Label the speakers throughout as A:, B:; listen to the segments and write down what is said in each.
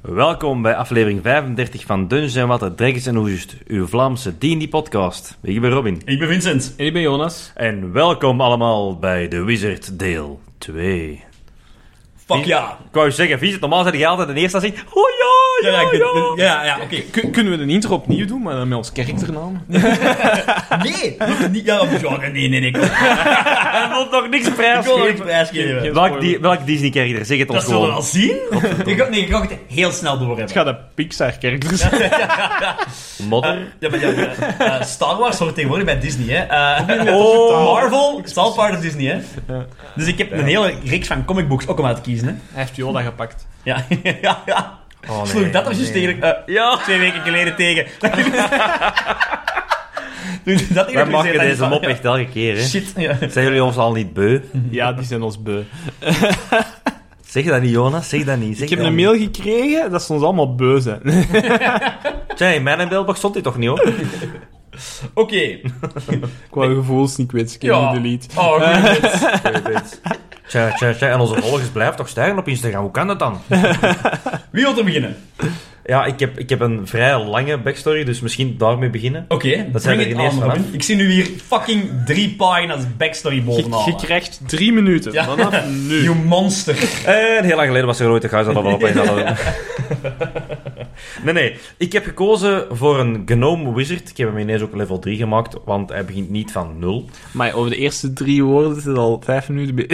A: Welkom bij aflevering 35 van Dungeons en Watten, Dragons en Hoesjes, uw Vlaamse D&D-podcast. Ik ben Robin.
B: Ik ben Vincent.
C: En ik ben Jonas.
A: En welkom allemaal bij The Wizard deel 2.
B: Fuck ja.
A: Ik wou je zeggen, Vincent, normaal zijn jij altijd de eerste als zegt... Oh ja,
B: Ja,
A: ja,
B: ja, ik
A: ja.
B: ben- ja, ja, oké.
C: Kun- kunnen we de intro opnieuw doen, maar dan met ons karakternaam?
B: Nee, nog niet. Ja, moet je- ja, nee, nee, nee. kom. Ik
A: Hij wil nog niks
B: wil er niks
A: prijsgeven.
B: prijsgeven.
A: Welk, di welk Disney-character? Zeg het ons
B: Dat zullen we
A: gewoon.
B: wel zien. Ik ga, nee, ik ga het heel snel door
C: Het
B: hebben.
C: gaat de Pixar-karakter zijn.
A: Modder.
B: Ja, maar ja, maar, eh, Star Wars hoort tegenwoordig bij Disney, hè. Eh,
A: Oh,
B: Marvel is al part of Disney, hè. Dus ik heb een hele reeks van comicbooks ook om uit te kiezen, hè.
C: Hij heeft Yoda gepakt.
B: Ja, ja, ja.
A: Oh,
B: Sloeg
A: nee,
B: dat er juist
A: nee.
B: tegen, eh,
A: Ja.
B: twee weken geleden tegen. Dus dat
A: Wij
B: irriteert
A: maken
B: mij
A: deze
B: van-
A: mop echt elke keer, hè.
B: Shit, ja.
A: Zijn jullie ons al niet beu?
C: Ja, die zijn ons beu.
A: Zeg dat niet, Jonas. Zeg dat niet. Zeg
C: Ik heb
A: dat
C: een
A: niet.
C: mail gekregen dat ze ons allemaal beu zijn.
A: Tja, in mijn mailbox stond dit toch niet, hoor.
B: Oké.
C: Qua gevoels, ik weet, ik heb
B: Ja.
C: niet delete.
B: Oh, goed.
A: Tja, tja, tja. En onze volgers blijven toch stijgen op Instagram. Hoe kan dat dan?
B: Wie wil er beginnen?
A: Ja, ik heb, ik heb een vrij lange backstory, dus misschien daarmee beginnen.
B: Oké,
A: Dat zijn
B: bring
A: er
B: it
A: ineens
B: on,
A: vanaf.
B: Robin. Ik zie nu hier fucking drie pagina's backstory bovenaan.
C: Je, je krijgt drie minuten
B: Ja.
C: vanaf nu.
B: You monster.
A: En heel lang geleden was er ooit een huis dat al op Nee, nee. Ik heb gekozen voor een Gnome Wizard. Ik heb hem ineens ook level 3 gemaakt, want hij begint niet van 0.
C: Maar over de eerste drie woorden zit al vijf minuten bij.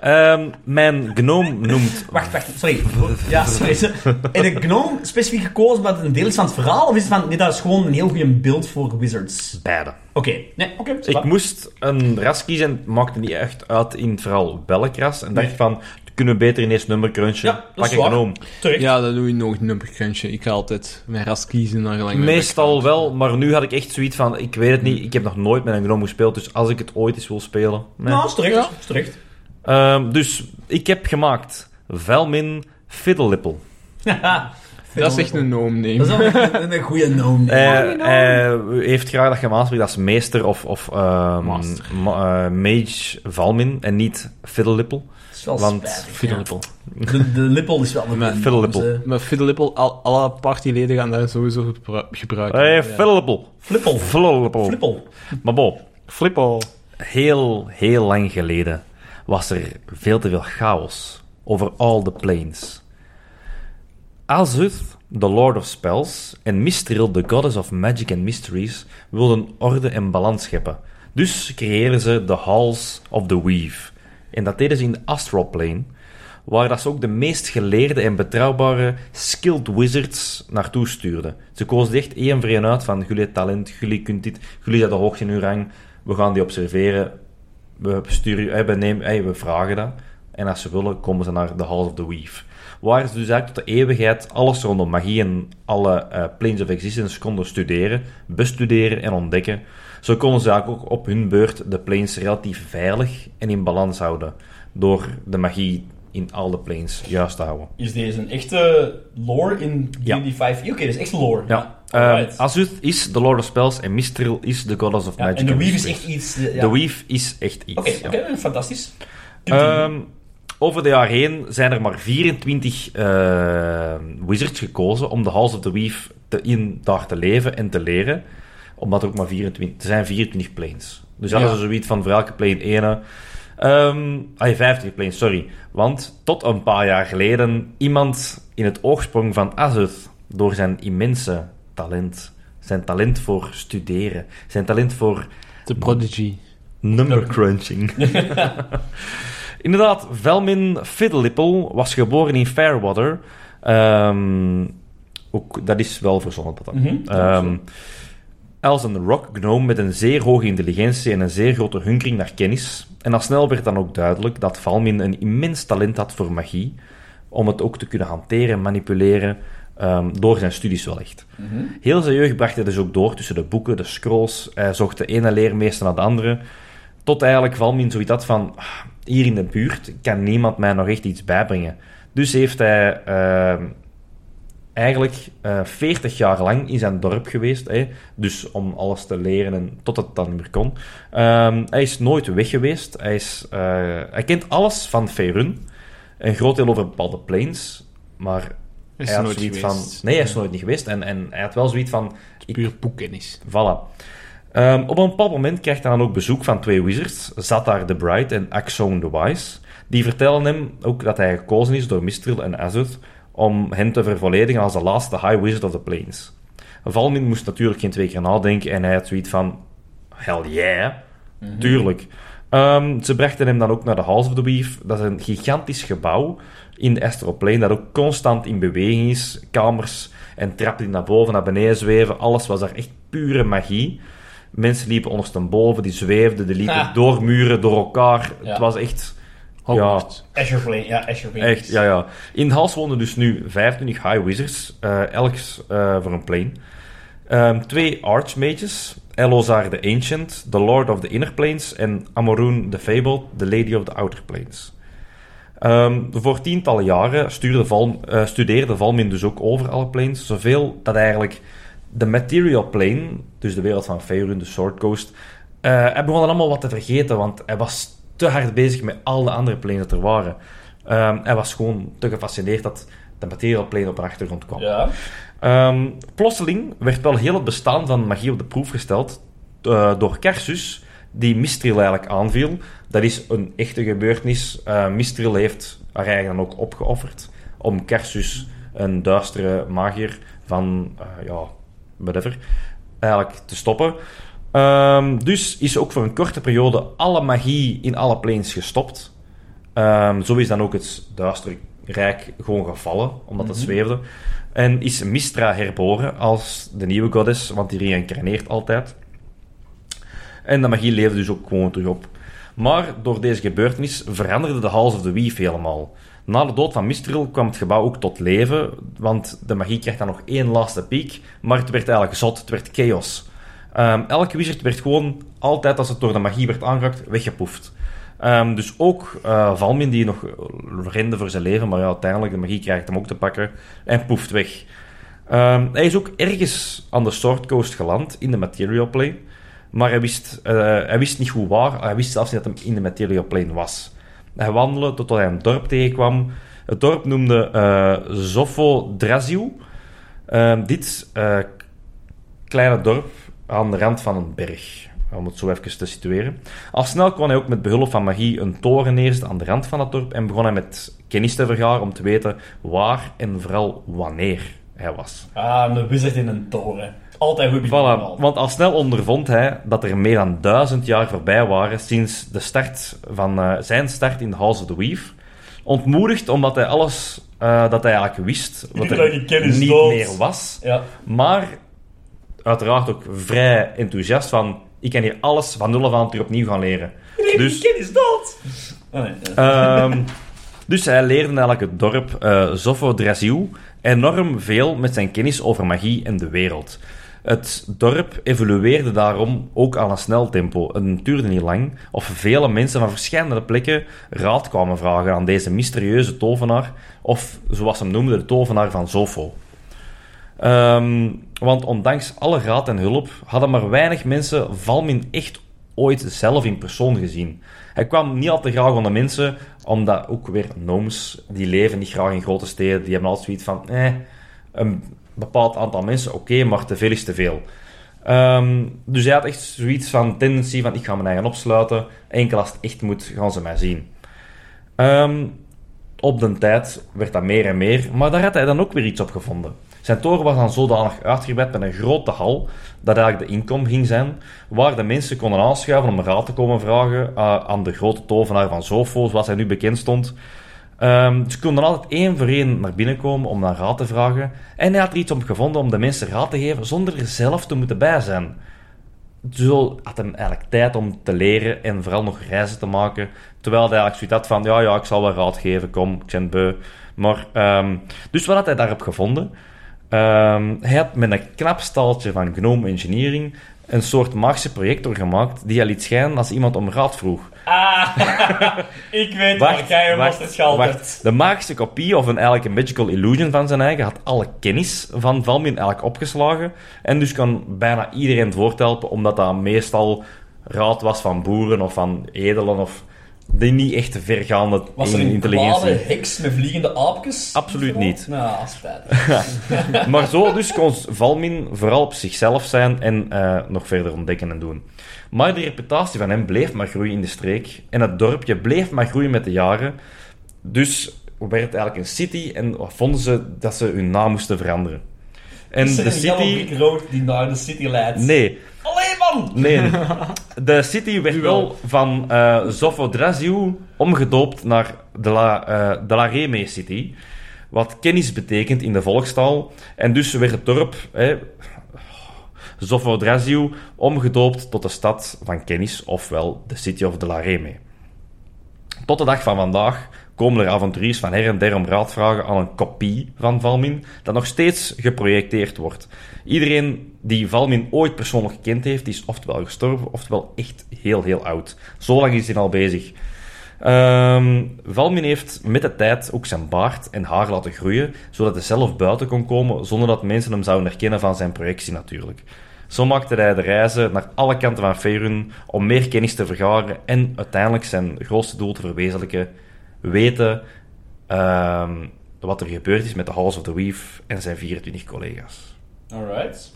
A: Ehm, mijn Gnome noemt...
B: Wacht, wacht, sorry. Ja, sorry. En een gnome specifiek gekozen omdat het een deel is van het verhaal? Of is het van, nee, dat is gewoon een heel goed beeld voor wizards?
A: Beide.
B: Oké, nee, oké. is
A: Ik
B: waar.
A: moest een ras kiezen en het maakte niet echt uit in het verhaal welk ras. En dacht
B: Nee.
A: van, kunnen we beter ineens nummer crunchen?
B: Ja, dat
A: Pak
B: is
A: een
B: waar.
A: Gnome.
B: Terecht.
C: Ja, dat doe je nog nummerkrantje. Ik ga altijd mijn ras kiezen naar gelang mijn
A: Meestal wel, maar nu had ik echt zoiets van, ik weet het niet, ik heb nog nooit met een gnome gespeeld, dus als ik het ooit eens wil spelen... nee.
B: Nou, is terecht.
C: Ja.
B: Is terecht.
A: Ehm, dus, ik heb gemaakt Velmin Fiddlelippel.
C: Dat is echt een
B: Dat
C: noom neem.
B: is wel een, een goede gnome.
A: Hij Eh, heeft graag dat je hem aanspreekt als meester of, of ehm,
C: Master.
A: ma- eh, mage Valmin en niet Fiddlelippel.
B: Dat is wel
A: Want
B: spijtig, ja.
C: Fiddlepel.
B: De, de lippel is wel een
C: Mijn
A: fiddlelippel.
B: Dus, eh,
C: Maar Fiddlepel, al, alle partyleden gaan daar sowieso gebru- gebruiken.
A: Hey,
C: Ja.
A: Fiddlelippel.
B: Flippel.
A: Fiddlelippel.
B: Flippel.
A: Eh, Maar bon,
C: Flippel.
A: heel, heel lang geleden was er veel te veel chaos over all the planes. Azuth, de Lord of Spells, en Mistril, de Goddess of Magic and Mysteries, wilden orde en balans scheppen. Dus creëerden ze de Halls of the Weave. En dat deden ze in de Astral Plane, waar dat ze ook de meest geleerde en betrouwbare skilled wizards naartoe stuurden. Ze kozen echt één voor één uit van, jullie hebben talent, jullie kunt dit, jullie zijn de hoogste in hun rang, we gaan die observeren, we, sturen, eh, we, nemen, eh, we vragen dat. En als ze willen, komen ze naar de House of the Weave. Waar ze dus eigenlijk tot de eeuwigheid alles rondom magie en alle eh, planes of existence konden studeren, bestuderen en ontdekken. Zo konden ze eigenlijk ook op hun beurt de planes relatief veilig en in balans houden. Door de magie in al de planes juist te houden.
B: Is deze een echte lore in D&D
A: Ja.
B: 5? Oké, dat is echt lore.
A: Ja. Ehm
B: Alright.
A: Azuth is de Lord of Spells en Mistril is de Goddess of
B: Ja,
A: Magic.
B: en de
A: and
B: weave is
A: Mysteries.
B: echt iets... eh, ja.
A: De weave is echt iets.
B: Oké,
A: ja.
B: oké, fantastisch.
A: Ehm, over de jaar heen zijn er maar 24 eh, wizards gekozen om de House of the Weave te, in daar te leven en te leren. Omdat er ook maar 24... Er zijn 24 planes. Dus dat
C: Ja.
A: is zoiets van voor elke plane ene... Ehm ah, 50 planes, sorry. Want tot een paar jaar geleden iemand in het oog sprong van Azuth door zijn immense talent. Zijn talent voor studeren. Zijn talent voor
C: De Prodigy.
A: Number crunching. Inderdaad, Velmin Fiddlelippel was geboren in Fairwater. Ehm, ook, dat is wel verzonnen. Dat dan.
B: Mhm.
A: Ehm, als een rock gnome met een zeer hoge intelligentie en een zeer grote hunkering naar kennis. En al snel werd dan ook duidelijk dat Valmin een immens talent had voor magie. Om het ook te kunnen hanteren, manipuleren, ehm, door zijn studies wel echt.
D: Mhm.
A: Heel zijn jeugd bracht hij dus ook door tussen de boeken, de scrolls. Hij zocht de ene leermeester naar de andere. Tot eigenlijk Valmin zoiets had van... "Ah, Hier in de buurt kan niemand mij nog echt iets bijbrengen. Dus heeft hij... ehm, eigenlijk eh 40 jaar lang in zijn dorp geweest. Hè? Dus om alles te leren en tot het dan niet meer kon. Ehm, hij is nooit weg geweest. Hij, is, eh, hij kent alles van Faerun. Een groot deel over bepaalde planes. Maar
C: Is
A: hij
C: er
A: had
C: nooit
A: zoiets
C: geweest.
A: van... Nee, hij is nooit niet geweest. En, en hij had wel zoiets van... ik-
C: Puur boekkennis.
A: Voilà. Ehm, op een bepaald moment krijgt hij dan ook bezoek van twee wizards, Zatar the Bright en Axon the Wise. Die vertellen hem ook dat hij gekozen is door Mistril en Azuth om hen te vervolledigen als de laatste High Wizard of the Plains. Valmin moest natuurlijk geen twee keer nadenken en hij had zoiets van... Hell yeah,
B: Mhm.
A: tuurlijk. Ehm, ze brachten hem dan ook naar de House of the Weave. Dat is een gigantisch gebouw in de Astroplane dat ook constant in beweging is. Kamers en trappen die naar boven, naar beneden zweven. Alles was daar echt pure magie. Mensen liepen ondersteboven, die zweefden, die liepen
B: Ah.
A: door muren, door elkaar.
B: Ja.
A: Het was echt...
C: Hogwarts.
B: Azure Plane, ja, Azure Plane.
A: Echt, ja, ja. In Hals wonen dus nu 25 High Wizards, eh elk eh, voor een plane. Ehm, twee Archmages, Elozar the Ancient, the Lord of the Inner Planes en Amorun the Fabled, the Lady of the Outer Planes. Ehm, voor tientallen jaren stuurde Val, eh, studeerde Valmin dus ook over alle planes, zoveel dat eigenlijk de Material Plane, dus de wereld van Faerun, de Sword Coast, eh, hij begon dan allemaal wat te vergeten, want hij was te hard bezig met al de andere planes dat er waren. Ehm, hij was gewoon te gefascineerd dat de Material Plane op de achtergrond kwam.
B: Ja.
A: Ehm, plotseling werd wel heel het bestaan van magie op de proef gesteld eh, door Carsus, die Mistril eigenlijk aanviel. Dat is een echte gebeurtenis. Eh Mistril heeft haar eigen dan ook opgeofferd om Carsus, een duistere magier van, eh, ja, whatever, eigenlijk te stoppen. Ehm, dus is ook voor een korte periode alle magie in alle planes gestopt. Ehm, zo is dan ook het duistere rijk gewoon gevallen, omdat het zweefde. En is Mistra herboren als de nieuwe goddess, want die reïncarneert altijd. En de magie leefde dus ook gewoon terug op. Maar door deze gebeurtenis veranderde de House of the Weave helemaal. Na de dood van Mistril kwam het gebouw ook tot leven, want de magie kreeg dan nog één laatste piek, maar het werd eigenlijk zot, het werd chaos. Ehm, elke wizard werd gewoon altijd, als het door de magie werd aangeraakt, weggepoefd. Ehm, dus ook eh, Valmin, die nog eh, rende voor zijn leven, maar ja, uiteindelijk de magie krijgt hem ook te pakken en poeft weg. Ehm, hij is ook ergens aan de Sword Coast geland, in de Material Plane. Maar hij wist, eh, hij wist niet goed waar. Hij wist zelfs niet dat hij in de Material Plane was. Hij wandelde totdat hij een dorp tegenkwam. Het dorp noemde eh Zoffo Draziu. Ehm, dit eh, kleine dorp aan de rand van een berg. Om het zo even te situeren. Al snel kon hij ook met behulp van magie een toren neerzetten aan de rand van het dorp. En begon hij met kennis te vergaren om te weten waar en vooral wanneer hij was.
B: Ah, een wizard in een toren. Altijd goed begin.
A: Voilà, want al snel ondervond hij dat er meer dan duizend jaar voorbij waren sinds de start van, eh, zijn start in the House of the Weave. Ontmoedigd omdat hij alles eh, dat hij eigenlijk wist, wat
B: Iedereen die kennis
A: niet
B: dood.
A: meer was.
B: Ja.
A: Maar uiteraard ook vrij enthousiast van, ik kan hier alles van nul af aan terug opnieuw gaan leren. Dus
B: is dat? Oh, nee, eh.
A: Ehm, dus hij leerde eigenlijk het dorp eh Zoffo Draziu enorm veel met zijn kennis over magie en de wereld. Het dorp evolueerde daarom ook aan een snel tempo. Het duurde niet lang of vele mensen van verschillende plekken raad kwamen vragen aan deze mysterieuze tovenaar, of zoals ze hem noemden, de tovenaar van Zoffo. Ehm, want ondanks alle raad en hulp hadden maar weinig mensen Valmin echt ooit zelf in persoon gezien. Hij kwam niet al te graag onder mensen, omdat ook weer gnomes, die leven niet graag in grote steden, die hebben altijd zoiets van, eh, een bepaald aantal mensen, oké, maar te veel is te veel. Ehm, dus hij had echt zoiets van tendentie van, ik ga mijn eigen opsluiten, enkel als het echt moet, gaan ze mij zien. Ehm, op den tijd werd dat meer en meer, maar daar had hij dan ook weer iets op gevonden. Zijn toren was dan zodanig uitgebreid met een grote hal, dat eigenlijk de inkom ging zijn, waar de mensen konden aanschuiven om raad te komen vragen eh, aan de grote tovenaar van Zofo, zoals hij nu bekend stond. Ehm, ze konden altijd één voor één naar binnen komen om naar raad te vragen, en hij had er iets om gevonden om de mensen raad te geven zonder er zelf te moeten bij zijn. Zo had hem eigenlijk tijd om te leren en vooral nog reizen te maken. Terwijl hij eigenlijk zoiets had van, ja, ja, ik zal wel raad geven, kom, ik ben beu. Maar, ehm, dus wat had hij daarop gevonden? Ehm, hij had met een knap staaltje van Gnome Engineering een soort magische projector gemaakt die hij liet schijnen als iemand om raad vroeg.
D: Ah, ik weet waar jij hem
A: wacht,
D: altijd gehaald
A: wacht.
D: hebt.
A: De magische kopie, of een, eigenlijk een magical illusion van zijn eigen, had alle kennis van Valmin eigenlijk opgeslagen. En dus kan bijna iedereen het woord helpen, omdat dat meestal raad was van boeren of van edelen of die niet echt te vergaande
D: Was er
A: in
D: een kwade
A: intelligentie.
D: heks met vliegende aapjes?
A: Absoluut niet.
D: Nou, spijtig.
A: Maar zo dus kon Valmin vooral op zichzelf zijn en eh, nog verder ontdekken en doen. Maar de reputatie van hem bleef maar groeien in de streek. En het dorpje bleef maar groeien met de jaren. Dus werd het eigenlijk een city en vonden ze dat ze hun naam moesten veranderen. En
D: Is er
A: de
D: een yellow
A: city...
D: brick road die naar de city leidt?
A: Nee,
D: Allee, man!
A: nee. De city werd
C: wel.
A: wel van eh Zofodraziu omgedoopt naar de La, eh, de La Reme City. Wat kennis betekent in de volkstaal. En dus werd het dorp, hè, Zofodraziu, omgedoopt tot de stad van kennis, ofwel de City of de La Reme. Tot de dag van vandaag komen er avonturiers van her en der om raad vragen aan een kopie van Valmin, dat nog steeds geprojecteerd wordt. Iedereen die Valmin ooit persoonlijk gekend heeft, is oftewel gestorven, oftewel echt heel, heel oud. Zo lang is hij al bezig. Ehm, Valmin heeft met de tijd ook zijn baard en haar laten groeien, zodat hij zelf buiten kon komen, zonder dat mensen hem zouden herkennen van zijn projectie natuurlijk. Zo maakte hij de reizen naar alle kanten van Faerun om meer kennis te vergaren en uiteindelijk zijn grootste doel te verwezenlijken, weten ehm, wat er gebeurd is met de House of the Weave en zijn 24 collega's.
D: Alright.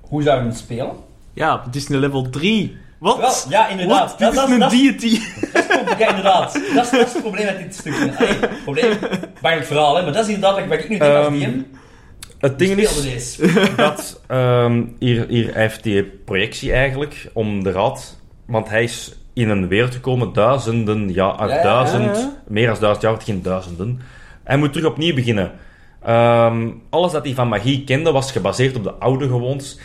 D: Hoe zou je hem spelen?
C: Ja, het is een level 3. Wat?
D: Wel, ja, inderdaad.
C: Wat?
D: Dat-
C: Dit
D: dat-
C: is een
D: dat-
C: deity.
D: Ja, inderdaad. Dat is, dat is het probleem met dit stukje. Allee, probleem. Bangelijk verhaal, hè. Maar dat is inderdaad waar ik nu denk als
A: Ehm,
D: DM.
A: Het ding
D: Speelde
A: is
D: deze.
A: dat ehm, hier, hier hij heeft die projectie eigenlijk om de rat, want hij is in een wereld gekomen duizenden jaar,
D: Ja, ja,
A: duizend,
C: ja.
A: meer dan duizend jaar, het ging duizenden. Hij moet terug opnieuw beginnen. Ehm, alles dat hij van magie kende was gebaseerd op de oude gewoontes.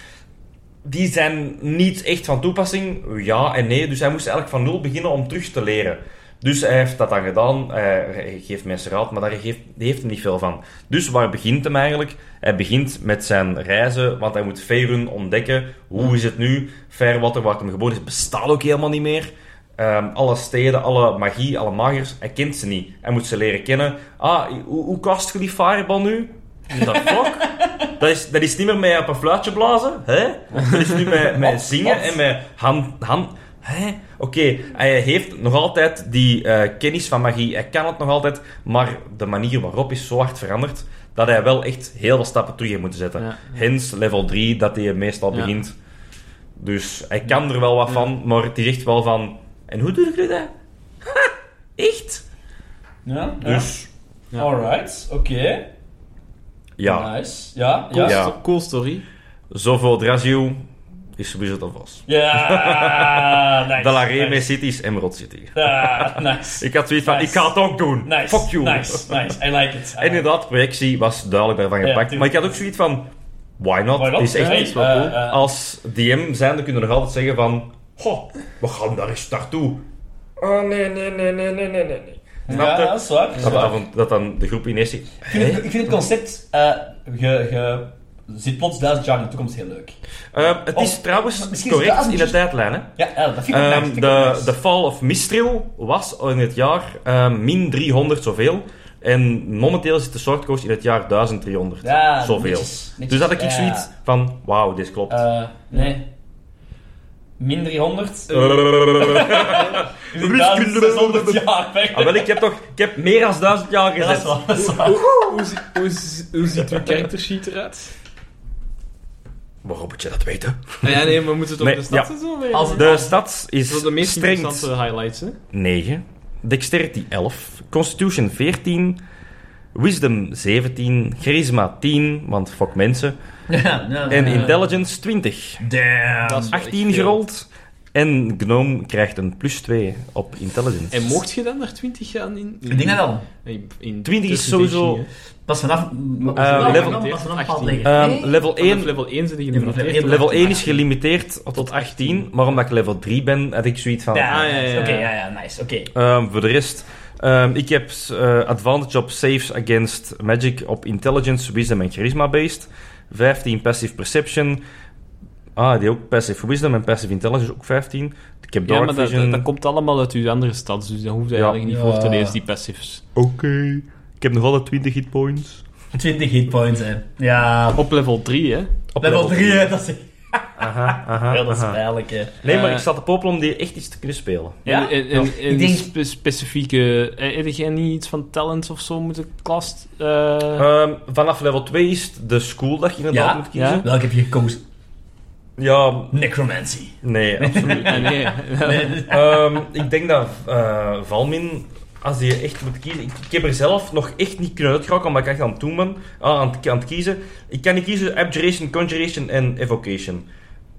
A: Die zijn niet echt van toepassing, ja en nee. Dus hij moest eigenlijk van nul beginnen om terug te leren. Dus hij heeft dat dan gedaan. Hij hij geeft mensen raad, maar daar geeft, die heeft hem niet veel van. Dus waar begint hem eigenlijk? Hij begint met zijn reizen, want hij moet Faerun ontdekken. Hoe is het nu? Fairwater, waar hij geboren is, bestaat ook helemaal niet meer. Ehm, alle steden, alle magie, alle magers, hij kent ze niet. Hij moet ze leren kennen. Ah, hoe, hoe kast je die fireball nu? Dat fuck? Dat is, dat is niet meer met op een fluitje blazen, hè? Dat is nu met, met zingen en met hand... hand hè? Oké, hij heeft nog altijd die eh, kennis van magie. Hij kan het nog altijd, maar de manier waarop is zo hard veranderd dat hij wel echt heel veel stappen terug heeft moeten zetten.
C: Ja.
A: Hence level 3, dat hij meestal
C: Ja.
A: begint. Dus hij kan er wel wat van, maar het is echt wel van... En hoe doe je dat? Ha, echt?
D: Ja, ja.
A: Dus,
C: Ja.
D: Alright, oké.
A: ja.
D: Nice. Ja,
C: Cool,
D: ja.
A: Ja.
C: sto- cool story.
A: Zoveel Draziel is Wizard of Oz.
D: Ja, nice.
A: De La Reme
D: nice.
A: City is Emerald City.
D: Ja, nice.
A: Ik had zoiets van,
D: Nice.
A: ik ga het ook doen.
D: Nice.
A: Fuck you.
D: Nice, nice. I like it. I
A: En inderdaad, projectie was duidelijk daarvan
D: Ja,
A: gepakt. maar
D: tuurlijk.
A: ik had ook zoiets van, why not?
D: Why not?
A: Het is echt,
D: Hey,
C: is wel cool.
D: eh, eh,
A: als DM zijnde kunnen we nog altijd zeggen van, goh, we gaan daar eens naartoe. Oh nee, nee, nee, nee, nee, nee, nee. nee.
D: ja,
A: Snap je?
D: dat is waar.
A: Dat, dan- dat dan de groep ineens zegt,
D: Ik vind, het,
A: hè?
D: ik vind het concept, eh je, je zit plots duizend jaar in de toekomst heel leuk.
A: Eh, het is
D: Of-
A: trouwens
D: misschien is het
A: correct
D: de
A: in de
D: avond-
A: tijdlijn, hè?
D: Ja, ja, dat vind ik ook
A: Ehm,
D: nice, vind ik ook
A: de,
D: nice.
A: de Fall of Mistril was in het jaar ehm, min 300 zoveel. En momenteel zit de shortcoast in het jaar 1300
D: Ja,
A: zoveel.
D: netjes, netjes,
A: dus had ik
D: ja.
A: zoiets van, wauw, dit klopt.
D: Eh, nee. Min 300.
A: Eh, Wiskunde.
D: 1600 jaar weg.
A: Ah, wel, ik heb toch ik heb meer dan 1000 jaar
D: Ja, dat is
A: gezet.
D: waar, dat is waar.
C: Hoe, zi- hoe zi- hoe ziet uw character sheet eruit?
A: Waarom moet je dat weten?
C: Nou ja, nee, maar moeten we
A: Nee,
C: het op de stad
A: ja.
C: en zo weer?
D: Als-
A: De stad
C: Dat
A: is
C: zijn de meest
A: strength
C: interessante highlights, hè?
A: 9, Dexterity 11, Constitution 14, Wisdom 17, Charisma 10, want fuck mensen,
D: Ja, ja,
A: en
D: ja.
A: Intelligence 20.
C: Dat is wel echt
A: 18
C: veel.
A: gerold. En Gnome krijgt een plus 2 op intelligence.
C: En mocht je dan naar 20 gaan in...
B: Ik denk dat wel.
C: In, in
A: 20 is
C: tussen
A: sowieso-
C: dingen.
B: Pas vanaf...
A: level-
B: Pas vanaf bepaald
C: 18.
B: level.
A: Ehm,
B: Nee?
A: level,
C: Vanaf
A: 1,
C: level 1 zit je
B: Level
C: gelimiteerd.
B: één.
A: level 1 is gelimiteerd tot 18, maar omdat ik level 3 ben, had ik zoiets van...
B: Ja,
C: Ah, ja, ja,
B: nice.
C: ja.
B: Oké, ja, ja, nice. Oké.
A: Ehm, voor de rest, ehm, ik heb eh, advantage op saves against magic op intelligence, wisdom en charisma based. 15 passive perception. Ah, die ook Passive Wisdom en Passive Intelligence, ook 15. Ik heb
C: Ja,
A: Dark
C: maar dat,
A: Vision.
C: dat, dat komt allemaal uit uw andere stads, dus dat hoeft je
A: Ja.
C: eigenlijk niet voor te
B: Ja.
C: lezen, die passives.
A: Oké. Ik heb nog alle 20 hitpoints.
B: 20 hitpoints, hè. Ja,
C: Op level 3, hè?
A: Op
B: level 3, hè. Dat is,
A: Aha, aha,
B: ja, dat is
A: aha.
B: pijnlijk, hè.
A: Nee, maar
C: Eh.
A: ik sta te popelen om die echt iets te kunnen spelen.
B: Ja?
C: En, en, en, en
B: Ik denk-
C: spe- specifieke... eh, Heb jij niet iets van talents of zo moeten klast... eh,
B: Oh.
A: Ehm, vanaf level 2 is het de school dat je inderdaad
B: Ja,
A: moet kiezen. Ja,
B: Welke heb je gekozen? Necromancy.
A: nee, absoluut.
C: ah, nee.
B: Nee,
A: Ehm, ik denk dat eh, Valmin, als je echt moet kiezen... Ik, ik heb er zelf nog echt niet kunnen uitgeraken, omdat ik echt aan het doen ben. ah, aan, het, aan het kiezen. Ik kan niet kiezen Abjuration, Conjuration en Evocation.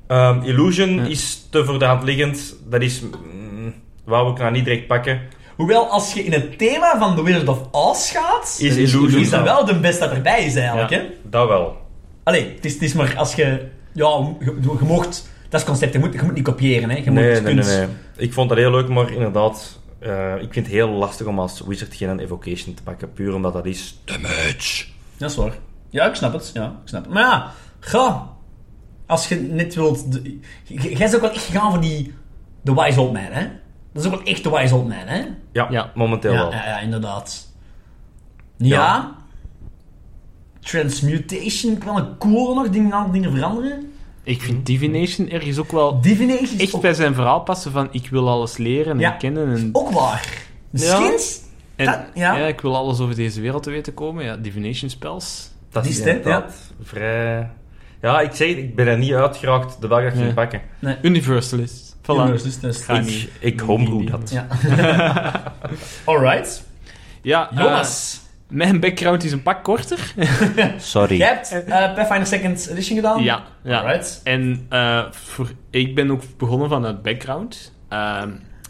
A: Ehm, illusion
C: Ja.
A: is te voor de hand liggend. Dat is... mm, wou ik nou niet direct pakken.
B: Hoewel, als je in het thema van The Wizard of Oz gaat,
A: Is
C: is
A: Illusion.
B: is dat wel de best dat erbij is, eigenlijk,
C: Ja.
B: hè.
A: Dat wel.
B: Allee, het is, het is maar als je... Ja, je, je mocht... Dat is het concept, je moet, je moet niet kopiëren, hè. Je moet
A: Nee, nee, nee,
B: kunst-
A: nee. Ik vond dat heel leuk, maar inderdaad, eh, ik vind het heel lastig om als wizard geen evocation te pakken, puur omdat dat is damage.
B: Dat is waar. Ja, ik snap het. Ja, ik snap het. Maar ja, ga. Als je net wilt... de- j- j- Jij is ook wel echt gegaan voor die... De wise old man, hè? Dat is ook wel echt de wise old man, hè?
A: Ja,
C: Ja.
A: momenteel
B: Ja,
A: wel.
B: ja, ja, inderdaad. Ja.
A: Ja.
B: Transmutation, ik wel een cool nog, dingen, aan dingen veranderen.
C: Ik vind Divination ergens ook wel
B: Divination is
C: echt
B: ook,
C: bij zijn verhaal passen van ik wil alles leren en
B: Ja.
C: kennen en...
B: ook waar. Misschien... is
C: en
B: dat- ja.
C: ja. ik wil alles over deze wereld te weten komen. Ja, divination spells.
A: Dat
B: Die
A: is
B: is het,
A: inderdaad vrij... Ja, ik zeg het, ik ben er niet uitgeraakt de dag dat ik
C: Nee.
A: ging pakken.
C: Universalist. Voilà.
B: Jongens, dus dat is-
C: Ga niet.
A: Ik, ik homebrew
C: niet.
A: dat.
B: Ja. Alright.
C: Ja, eh,
B: Jonas.
C: mijn background is een pak korter.
A: Sorry.
B: Jij hebt eh Pathfinder Second Edition gedaan?
C: ja, ja.
B: Oh. Alright.
C: En eh, voor, ik ben ook begonnen vanuit background. Ehm,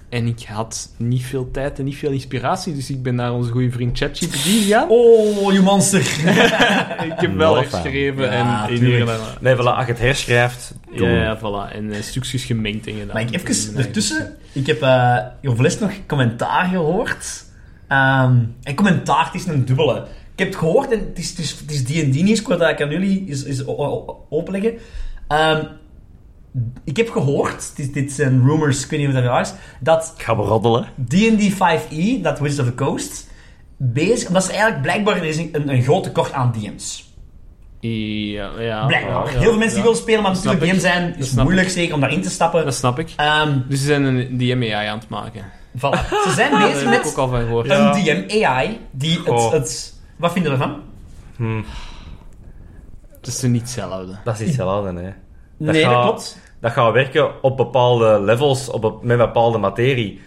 C: en ik had niet veel tijd en niet veel inspiratie, dus ik ben naar onze goede vriend ChatGPT gegaan.
B: Oh, je monster.
C: ik heb wel
A: Not a fan.
C: geschreven
B: Ja,
C: en...
B: tuurlijk.
C: en-
A: Nee, voilà, als je het herschrijft,
C: ja,
A: doe
C: ja, voilà. En eh, stukjes gemengd en gedaan.
B: Maar ik even
C: Mijn eigen-
B: ertussen. Ik heb eh over les nog commentaar gehoord. Ehm, en commentaar, het is een dubbele. Ik heb het gehoord en het is, het is, het is die en die nieuws. Ik wil dat ik aan jullie is, is o- o- openleggen. Ehm, ik heb gehoord, dit, dit zijn rumors, ik weet niet of dat waar is, dat
A: Ik ga beroddelen.
B: D&D 5e, E, dat Wizards of the Coast, bezig... Omdat ze eigenlijk blijkbaar er is een, een, een groot tekort aan DM's.
C: Ja, ja.
B: Blijkbaar.
C: Ah, ja,
B: Heel veel mensen die
C: ja.
B: willen spelen, maar
C: Dat snap
B: natuurlijk DM
C: ik.
B: zijn,
C: Dat
B: is
C: snap
B: moeilijk zeker om daarin te stappen.
C: Dat snap ik.
B: Ehm,
C: Dus ze zijn een DMAI aan het maken.
B: voilà. Ze zijn
C: Daar
B: bezig
C: heb ik
B: met
C: ook al Oh. van gehoord.
A: Ja.
B: een DM-AI die het,
A: Goh.
B: het... Wat vinden we ervan?
A: Hm,
C: Het is er niet hetzelfde.
A: dat is hetzelfde, hè. Dat
B: nee, dat
A: gaat-
B: klopt.
A: Dat gaat werken op bepaalde levels, op, bep- met bepaalde materie.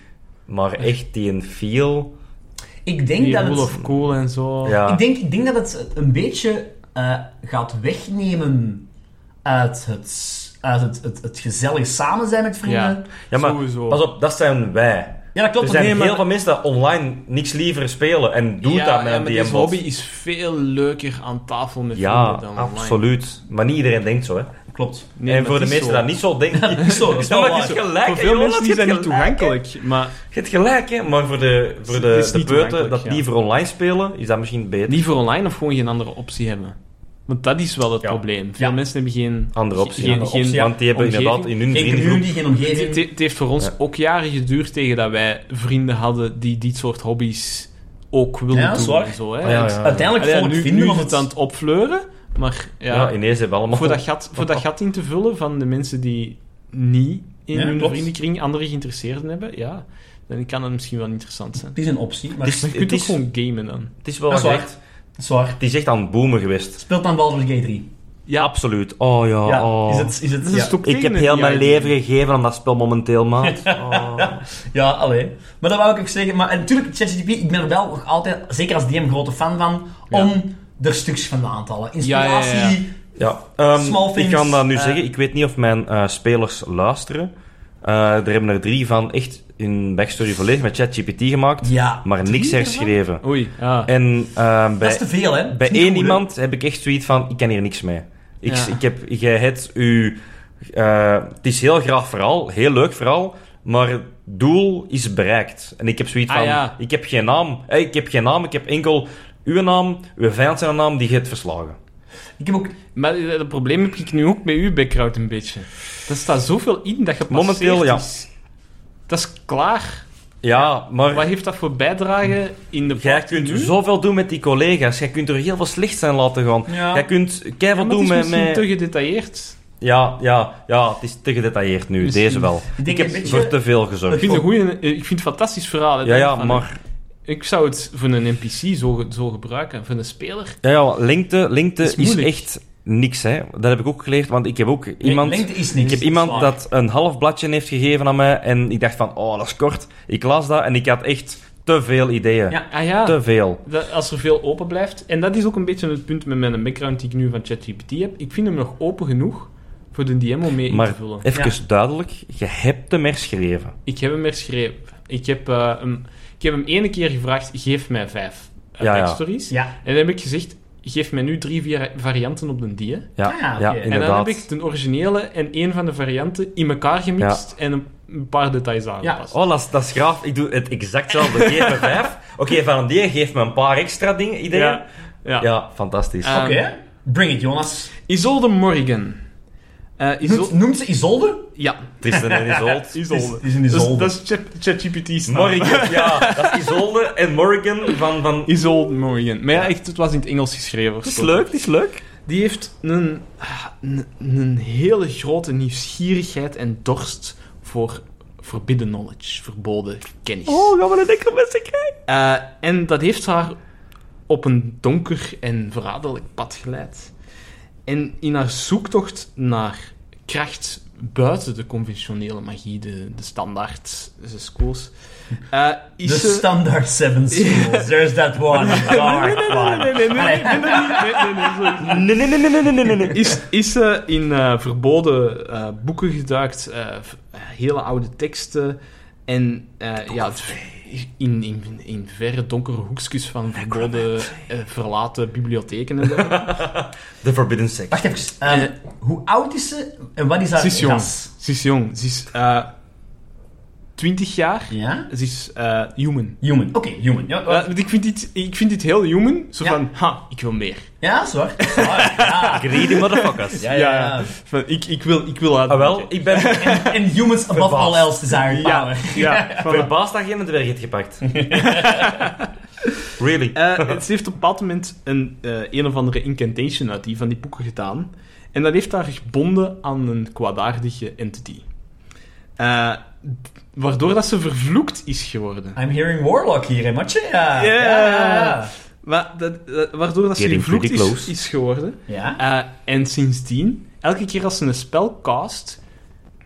A: Maar echt die een feel...
B: Ik denk,
C: Die
B: dat
C: Rule
B: het,
C: of Cool en zo.
A: Ja.
B: ik, denk, ik denk dat het een beetje eh, gaat wegnemen uit het, uit het, het, het gezellig samen zijn met vrienden.
C: Ja.
B: Ja,
A: Ja, maar
C: Sowieso.
A: pas op, dat zijn wij.
B: dat klopt.
A: Er zijn
B: nee, maar-
A: heel veel mensen dat online niks liever spelen en doen
C: Ja,
A: dat met
C: ja,
A: een
C: maar deze
A: DM-bot.
C: hobby is veel leuker aan tafel met
A: Ja,
C: vrienden dan online.
A: absoluut. Maar niet iedereen denkt zo, hè.
B: Klopt.
C: Nee,
A: en
C: maar
A: voor de
C: het is
A: mensen
C: zo.
A: dat niet zo denken...
B: Dat is zo, dat is
A: Ja, maar
B: wel
A: je
B: waar.
A: hebt gelijk,
C: Voor
A: hè,
C: veel
A: Jonas,
C: mensen
A: je
C: is
A: hebt
C: dat niet
A: gelijk, hè.
C: toegankelijk. Maar
A: Je hebt gelijk, hè. Maar voor de, voor
C: Het
A: de,
C: is
A: de
C: niet
A: beurten, dat
C: toegankelijk,
A: die
C: ja.
A: voor online spelen, is dat misschien beter.
C: niet voor online of gewoon geen andere optie hebben. Want dat is wel het
A: Ja.
C: probleem. Veel
B: Ja.
C: mensen hebben geen...
A: Andere
C: ge-
A: optie,
C: Geen,
B: andere optie,
C: geen-
B: ja.
A: Want die hebben
C: omgeving.
A: inderdaad in hun
B: Geen
A: vriendengroep...
B: community, geen
C: Het,
B: omgeving.
C: het heeft voor ons
A: Ja.
C: ook jaren geduurd tegen dat wij vrienden hadden die dit soort hobby's ook wilden
B: Ja, dat is
C: doen.
B: waar.
C: en Zo, hè.
A: Ja, ja, ja.
B: Uiteindelijk
C: Allee,
B: volk
C: nu,
B: vinden
C: nu
B: we
C: is
B: het,
C: het aan het opfleuren, maar ja,
A: Ja, ineens hebben we allemaal...
C: voor, dat gat, voor dat gat in te vullen van de mensen die niet in
B: Ja,
C: hun
B: klopt.
C: vriendenkring andere geïnteresseerden hebben, ja, dan kan dat misschien wel interessant zijn.
B: Het is een optie, maar
A: Het is-
C: Maar je kunt ook
A: is-
C: gewoon gamen dan.
A: Het is wel
B: Dat is waar.
A: echt...
B: het is waar.
A: Het is echt aan het boomen geweest.
B: Speelt dan Baldur's Gate 3.
C: Ja,
A: Absoluut. Oh ja,
B: Ja,
A: oh.
B: is het... Is het
C: Dat is
B: ja.
C: een stok
A: Ik heb
C: tegen
A: heel
C: het
A: mijn
C: idee.
A: leven gegeven aan dat spel momenteel, maat. Oh.
B: Ja, alleen. Maar dat wou ik ook zeggen. Maar en natuurlijk, ChatGPT, ik ben er wel nog altijd, zeker als DM, grote fan van,
C: Ja.
B: om er stukjes van aan te halen. Inspiratie.
C: Ja, ja, ja,
A: Ja, ehm,
B: Small
A: ik
B: things,
A: kan dat nu
B: eh.
A: zeggen. Ik weet niet of mijn eh, spelers luisteren. Eh, er hebben er drie van echt in backstory volledig met ChatGPT gemaakt,
B: Ja.
A: maar niks herschreven.
C: Oei, ja.
A: En eh,
B: Dat is
A: bij,
B: te veel, hè? Dat is
A: bij
B: niet
A: één
B: goed, hè?
A: iemand heb ik echt zoiets van: ik kan hier niks mee. Ik,
C: Ja.
A: ik heb, jij hebt u. eh, het is heel graag verhaal, heel leuk verhaal, maar het doel is bereikt. En ik heb zoiets
C: Ah,
A: van:
C: ja.
A: ik heb geen naam, eh, ik heb geen naam, ik heb enkel uw naam, uw vijand zijn naam die je hebt verslagen.
B: Ik heb ook...
C: Maar eh, dat probleem heb ik nu ook met uw background een beetje. Er staat zoveel in dat gepasseerd
A: Momenteel, ja.
C: is. Dat is klaar.
A: Oh, Ja,
C: Wat
A: maar
C: heeft dat voor bijdrage in de
A: jij
C: party
A: kunt
C: nu?
A: zoveel doen met die collega's. Jij kunt er heel veel slecht zijn laten gaan.
B: Ja.
A: Jij kunt
C: Ja,
A: keihard
C: maar het
A: doen
C: is
A: met...
C: misschien
A: met...
C: te gedetailleerd.
A: Ja, ja, ja, het is te gedetailleerd nu.
C: Misschien.
A: Deze wel.
B: Ik,
A: Ik
B: denk
A: heb
B: een beetje-
A: voor te veel
C: Ik
A: gezorgd.
C: vind, het een goeie, eh, ik vind het een fantastisch verhaal. hè,
A: Oh. Ja, ja,
C: van-
A: maar...
C: Ik zou het voor een NPC zo, ge- zo gebruiken, voor een speler.
A: Ja, ja, lengte, lengte
C: Is
A: is,
C: moeilijk.
A: echt niks, hè. Dat heb ik ook geleerd, want ik heb ook iemand...
B: Lengte is niks.
A: Ik heb iemand dat een half bladje heeft gegeven aan mij en ik dacht van, oh, dat is kort. Ik las dat en ik had echt te veel ideeën.
B: Ja.
C: Ah ja,
A: Te veel.
C: dat- als er veel open blijft. En dat is ook een beetje het punt met mijn background die ik nu van ChatGPT heb. Ik vind hem nog open genoeg voor de DM om mee in
A: Maar
C: te vullen.
A: even duidelijk, je hebt hem herschreven.
C: Ik heb hem herschreven. Ik heb, eh, hem, ik heb hem ene keer gevraagd, geef mij vijf eh,
A: Ja, ja.
C: backstories.
B: Ja.
C: En dan heb ik gezegd, geef mij nu drie vier varianten op de die.
A: Ja,
B: Ah, ja,
A: ja
B: oké. En
C: En
A: inderdaad.
C: dan heb ik de originele en één van de varianten in elkaar gemixt en een, een paar details aangepast.
A: Oh, dat is, dat is graaf. Ik doe het exactzelfde. Geef me vijf. Oké, van die geef me een paar extra dingen, ideeën.
C: ja.
A: Ja,
C: ja.
A: fantastisch.
C: Ah.
B: Oké, bring it, Jonas.
C: Isolde Morgan. Eh, Iso-
B: Noemt, noemt ze Isolde?
C: ja,
A: Tristan en Isolde.
B: Het is-
C: Isolde.
B: het is een
C: Dat
A: Dus
B: Isolde.
C: Dat is Chat- ChatGPT's naam.
A: Morgan, ja. Dat is Isolde en Morgan van... van...
C: Isolde Morgan. Maar ja, echt, het was in het Engels geschreven.
A: Dat is
C: verstopt.
A: leuk, dat is leuk.
C: Die heeft een, ah, een, een hele grote nieuwsgierigheid en dorst voor forbidden knowledge, verboden kennis.
A: Oh, gaan we een dikke mensen krijgen?
C: Eh, en dat heeft haar op een donker en verraderlijk pad geleid. En in haar zoektocht naar kracht buiten de conventionele magie, de, de standaard de schools, eh, is
B: De
C: ze...
B: standaard seven schools. There's that one. Dark
C: Nee,
B: one.
C: nee, nee, nee, nee, nee, nee, nee, nee, sorry.
A: Nee, nee, nee, nee, nee, nee, nee, nee.
C: Is, is ze in eh, verboden eh, boeken geduikt, eh, v- hele oude teksten en eh, ja, het- in, in, in verre donkere hoekjes van verboden eh, verlaten bibliotheken en dergelijke.
A: The Forbidden Sex.
B: Wacht even. ehm,
C: Eh.
B: hoe oud is ze en wat is haar
C: Ze is jong.
B: ras?
C: Ze is jong. Ze is eh 20 jaar.
B: Ja?
C: Ze is eh, human.
B: Human. Oké, human. Ja,
C: Eh, want ik, vind dit, ik vind dit heel human. Zo
B: Ja.
C: van, ha, ik wil meer.
B: ja zwaar. Zwaar, Ja.
A: Greedy motherfuckers.
B: Ja, ja, ja.
C: Van, ik, ik wil, ik wil
A: Ah, wel, ik ben
B: En humans above
A: Verbaasd.
B: all else desire
C: Ja,
B: power.
C: ja, voilà.
A: verbaasd dat je een dwerg hebt gepakt. really.
C: Eh, ze heeft op een bepaald moment een, eh, een of andere incantation uit die van die boeken gedaan. En dat heeft haar gebonden aan een kwaadaardige entity. Eh, d- waardoor dat ze vervloekt is geworden.
B: I'm hearing warlock hier, hè, matje? Ja.
C: Ja.
B: Ja, ja,
C: Maar dat, dat- waardoor dat ze
A: Getting
C: vervloekt
A: pretty
C: is,
A: close.
C: is geworden.
B: ja.
C: Eh, en sindsdien, elke keer als ze een spel cast,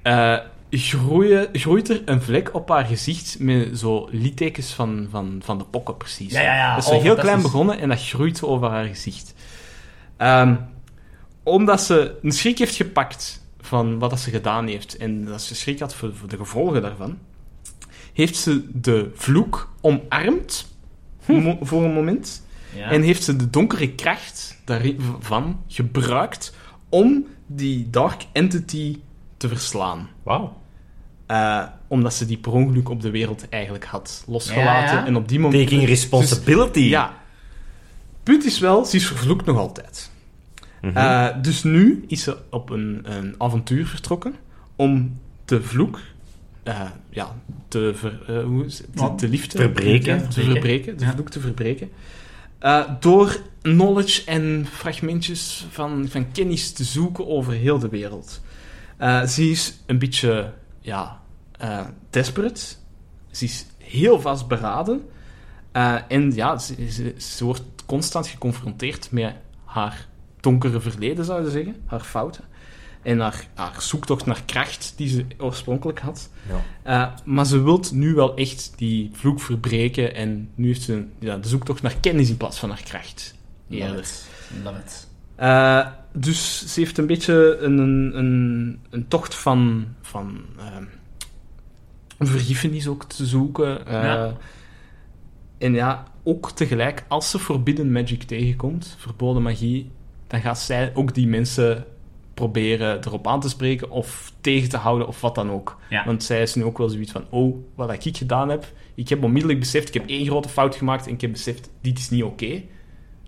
C: eh, groeien, groeit er een vlek op haar gezicht met zo littekens van, van, van de pokken, precies.
B: Ja, ja, ja.
C: Dat is
B: Oh,
C: heel klein
B: fantastisch.
C: begonnen en dat groeit over haar gezicht. Ehm, omdat ze een schrik heeft gepakt van wat dat ze gedaan heeft en dat ze schrik had voor, voor de gevolgen daarvan, heeft ze de vloek omarmd
B: Hm.
C: mo- voor een moment.
B: Ja.
C: En heeft ze de donkere kracht daarvan gebruikt om die dark entity te verslaan.
A: Wauw.
C: Eh, omdat ze die per ongeluk op de wereld eigenlijk had losgelaten.
B: Ja, ja.
C: En op die moment...
A: Taking responsibility.
C: Dus- ja. Punt is wel, ze is vervloekt nog altijd. Eh, dus nu is ze op een, een avontuur vertrokken om de vloek eh, ja, te, ver, eh, hoe is het? te,
B: Ja.
C: te liefde
A: Verbreken.
C: Ja, te verbreken, de
B: Ja.
C: vloek te verbreken. Eh, door knowledge en fragmentjes van, van kennis te zoeken over heel de wereld. Eh, ze is een beetje ja, eh, desperate. Ze is heel vastberaden. Eh, en ja, ze, ze- ze wordt constant geconfronteerd met haar donkere verleden, zou je zeggen. Haar fouten. En haar, haar zoektocht naar kracht die ze oorspronkelijk had.
A: Ja.
C: Eh, maar ze wilt nu wel echt die vloek verbreken. En nu heeft ze ja, de zoektocht naar kennis in plaats van naar kracht.
B: Love
C: Eerder.
B: it. Love it.
C: Eh, dus ze heeft een beetje een, een, een, een tocht van, van ehm, vergiffenis ook te zoeken. Eh,
B: Ja.
C: En ja, ook tegelijk, als ze Forbidden Magic tegenkomt, verboden magie, dan gaat zij ook die mensen proberen erop aan te spreken of tegen te houden of wat dan ook.
B: Ja.
C: Want zij is nu ook wel zoiets van, oh, wat ik gedaan heb, ik heb onmiddellijk beseft, ik heb één grote fout gemaakt en ik heb beseft, dit is niet oké.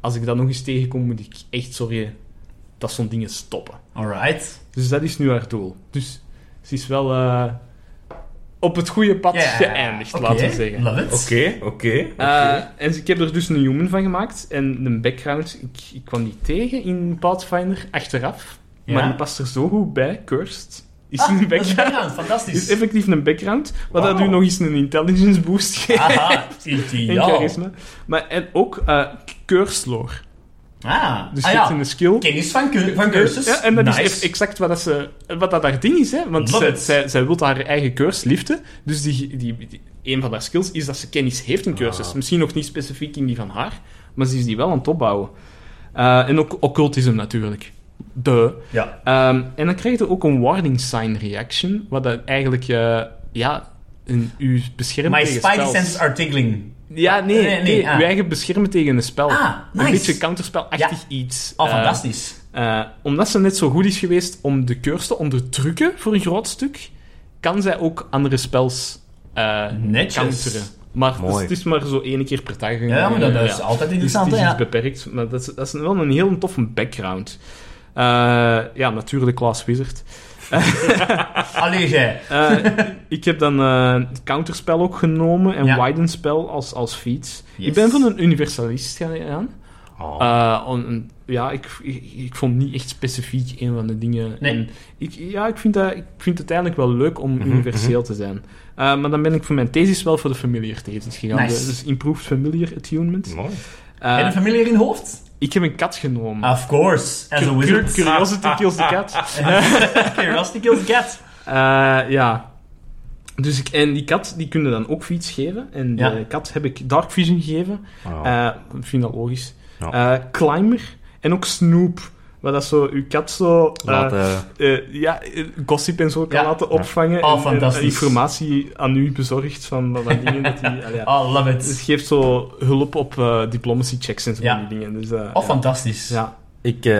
C: Als ik dat nog eens tegenkom, moet ik echt sorry dat zo'n dingen stoppen.
B: Alright.
C: Dus dat is nu haar doel. Dus ze is wel eh, op het goede pad
B: Ja,
C: geëindigd,
B: oké.
C: laten we zeggen.
B: Love it.
A: Oké, oké.
C: Eh, en ik heb er dus een human van gemaakt. En een background, ik, ik kwam die tegen in Pathfinder achteraf.
B: Ja.
C: Maar die past er zo goed bij, cursed. Is
B: Ah,
C: een
B: dat is een
C: background.
B: background,
C: Is
B: fantastisch.
C: effectief een background, wat dat
B: Wauw. Ah,
C: u nog eens een intelligence boost geeft.
B: Aha,
C: en
B: ideaal.
C: charisma. Maar en ook eh cursed lore.
B: Ah,
C: Dus
B: ah
C: je hebt
B: ja.
C: een skill.
B: Kennis van, cur- van cursus.
C: Ja, en dat
B: nice.
C: is eff- exact wat, dat ze, wat dat haar ding is, hè? want
B: Love
C: zij,
B: it.
C: zij, zij wil haar eigen cursus liften. Dus die, die, die- een van haar skills is dat ze kennis heeft in cursus.
B: Ah.
C: Misschien nog niet specifiek in die van haar, maar ze is die wel aan het opbouwen. Eh, en ook occultisme natuurlijk. De.
B: Ja.
C: Ehm, en dan krijg je ook een warning sign reaction, wat dat eigenlijk eh, ja, een, u beschermt
B: My
C: tegen
B: spidey
C: spells.
B: senses are tingling.
C: Ja, nee,
B: Nee,
C: nee,
B: nee, ah.
C: u eigen beschermen tegen een spel.
B: Ah,
C: Een
B: nice.
C: beetje counterspelachtig iets.
B: Oh,
C: Eh,
B: fantastisch.
C: eh, omdat ze net zo goed is geweest om de curse te onderdrukken voor een groot stuk, kan zij ook andere spels eh
B: Netjes.
C: counteren. Maar het is-
A: Mooi.
C: het is maar zo één keer per dag.
B: Ja, maar dat, dat is
C: Ja.
B: altijd
C: Dus
B: interessant,
C: het is
B: hè,
C: iets
B: ja.
C: beperkt, maar dat is, dat is wel een heel toffe background. Eh, ja, natuurlijk Class Wizard.
B: Allee, jij.
C: Eh, ik heb dan eh, het counterspel ook genomen en
B: Ja.
C: widenspel als, als feats.
B: Yes.
C: Ik ben van een universalist gegaan.
A: Oh.
C: Eh, on- on- ja, ik, ik, ik vond niet echt specifiek een van de dingen.
B: Nee. Mhm,
C: En ik, ja, ik vind, dat, ik vind het uiteindelijk wel leuk om universeel te zijn. Eh, maar dan ben ik voor mijn thesis wel voor de familiar thesis gegaan.
B: Nice.
C: De- Dus Improved Familiar Attunement.
A: Mooi.
C: Eh, hm.
B: Heb je Ah, een familie hier in hoofd?
C: ik heb een kat genomen.
B: Of course. As a
C: Cur-
B: wizard.
C: Curiosity
B: Ah.
C: kills the cat.
B: Curiosity kills the cat.
C: Eh, ja. Dus ik, en die kat, die kunnen dan ook fiets geven. En
B: Ja.
C: de kat heb ik Dark Vision gegeven.
A: Oh.
C: Eh, ik vind dat logisch.
A: Ja.
C: Eh, climber en ook Snoop. Waar dat zo, uw kat zo... eh,
A: Laat, eh,
C: eh, ja, eh, gossip en zo kan
B: Ja.
C: laten opvangen.
B: Oh,
C: en- en,
B: fantastisch.
C: informatie aan u bezorgt van wat dat dingen dat die... allee, ja.
B: Oh, love
C: Dus het
B: it.
C: geeft zo hulp op eh, diplomacy checks en zo
B: Ja.
C: van die dingen. Dus, eh,
B: Oh,
C: ja.
B: fantastisch.
C: Ja.
A: ik eh,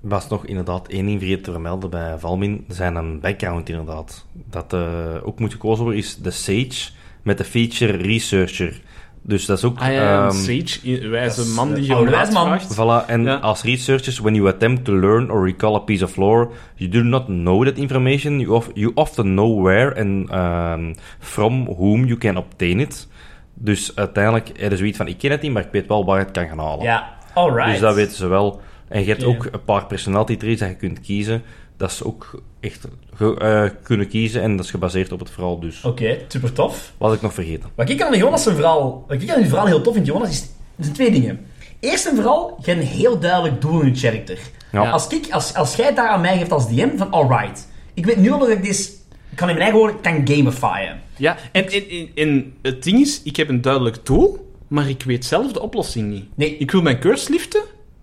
A: was nog inderdaad één ding vergeten te vermelden bij Valmin. Zijn een background inderdaad. Dat eh, ook moet gekozen worden is de Sage met de feature researcher. Dus dat is ook...
C: Ah, ja,
A: ehm,
C: Sage, i- wijze
B: dat is,
C: man
B: eh,
C: die je om
B: oude
C: raad
B: wijze man.
C: vraagt.
A: Voilà, en
C: Ja.
A: als researchers, when you attempt to learn or recall a piece of lore, you do not know that information. You, of, you often know where and ehm, from whom you can obtain it. Dus uiteindelijk er is zoiets van, ik ken het niet, maar ik weet wel waar het kan gaan halen.
B: Ja. Alright.
A: Dus dat weten ze wel. En je hebt
B: Oké.
A: ook een paar personality traits dat je kunt kiezen. Dat ze ook echt ge- eh, kunnen kiezen en dat is gebaseerd op het verhaal dus.
B: Oké, super tof.
A: Wat had ik nog vergeten.
B: Wat ik aan Jonas zijn verhaal, wat ik aan die verhaal heel tof vind, Jonas, is, zijn twee dingen. Eerst en vooral, je hebt een heel duidelijk doel in je character.
A: Ja.
B: Als, ik, als, als jij het daar aan mij geeft als DM, van alright. Ik weet nu al dat ik dit, ik kan in mijn eigen woorden, kan gamifyen.
C: Ja, en, en, en, en het ding is, ik heb een duidelijk doel, maar ik weet zelf de oplossing niet.
B: Nee.
C: Ik wil mijn curse liften,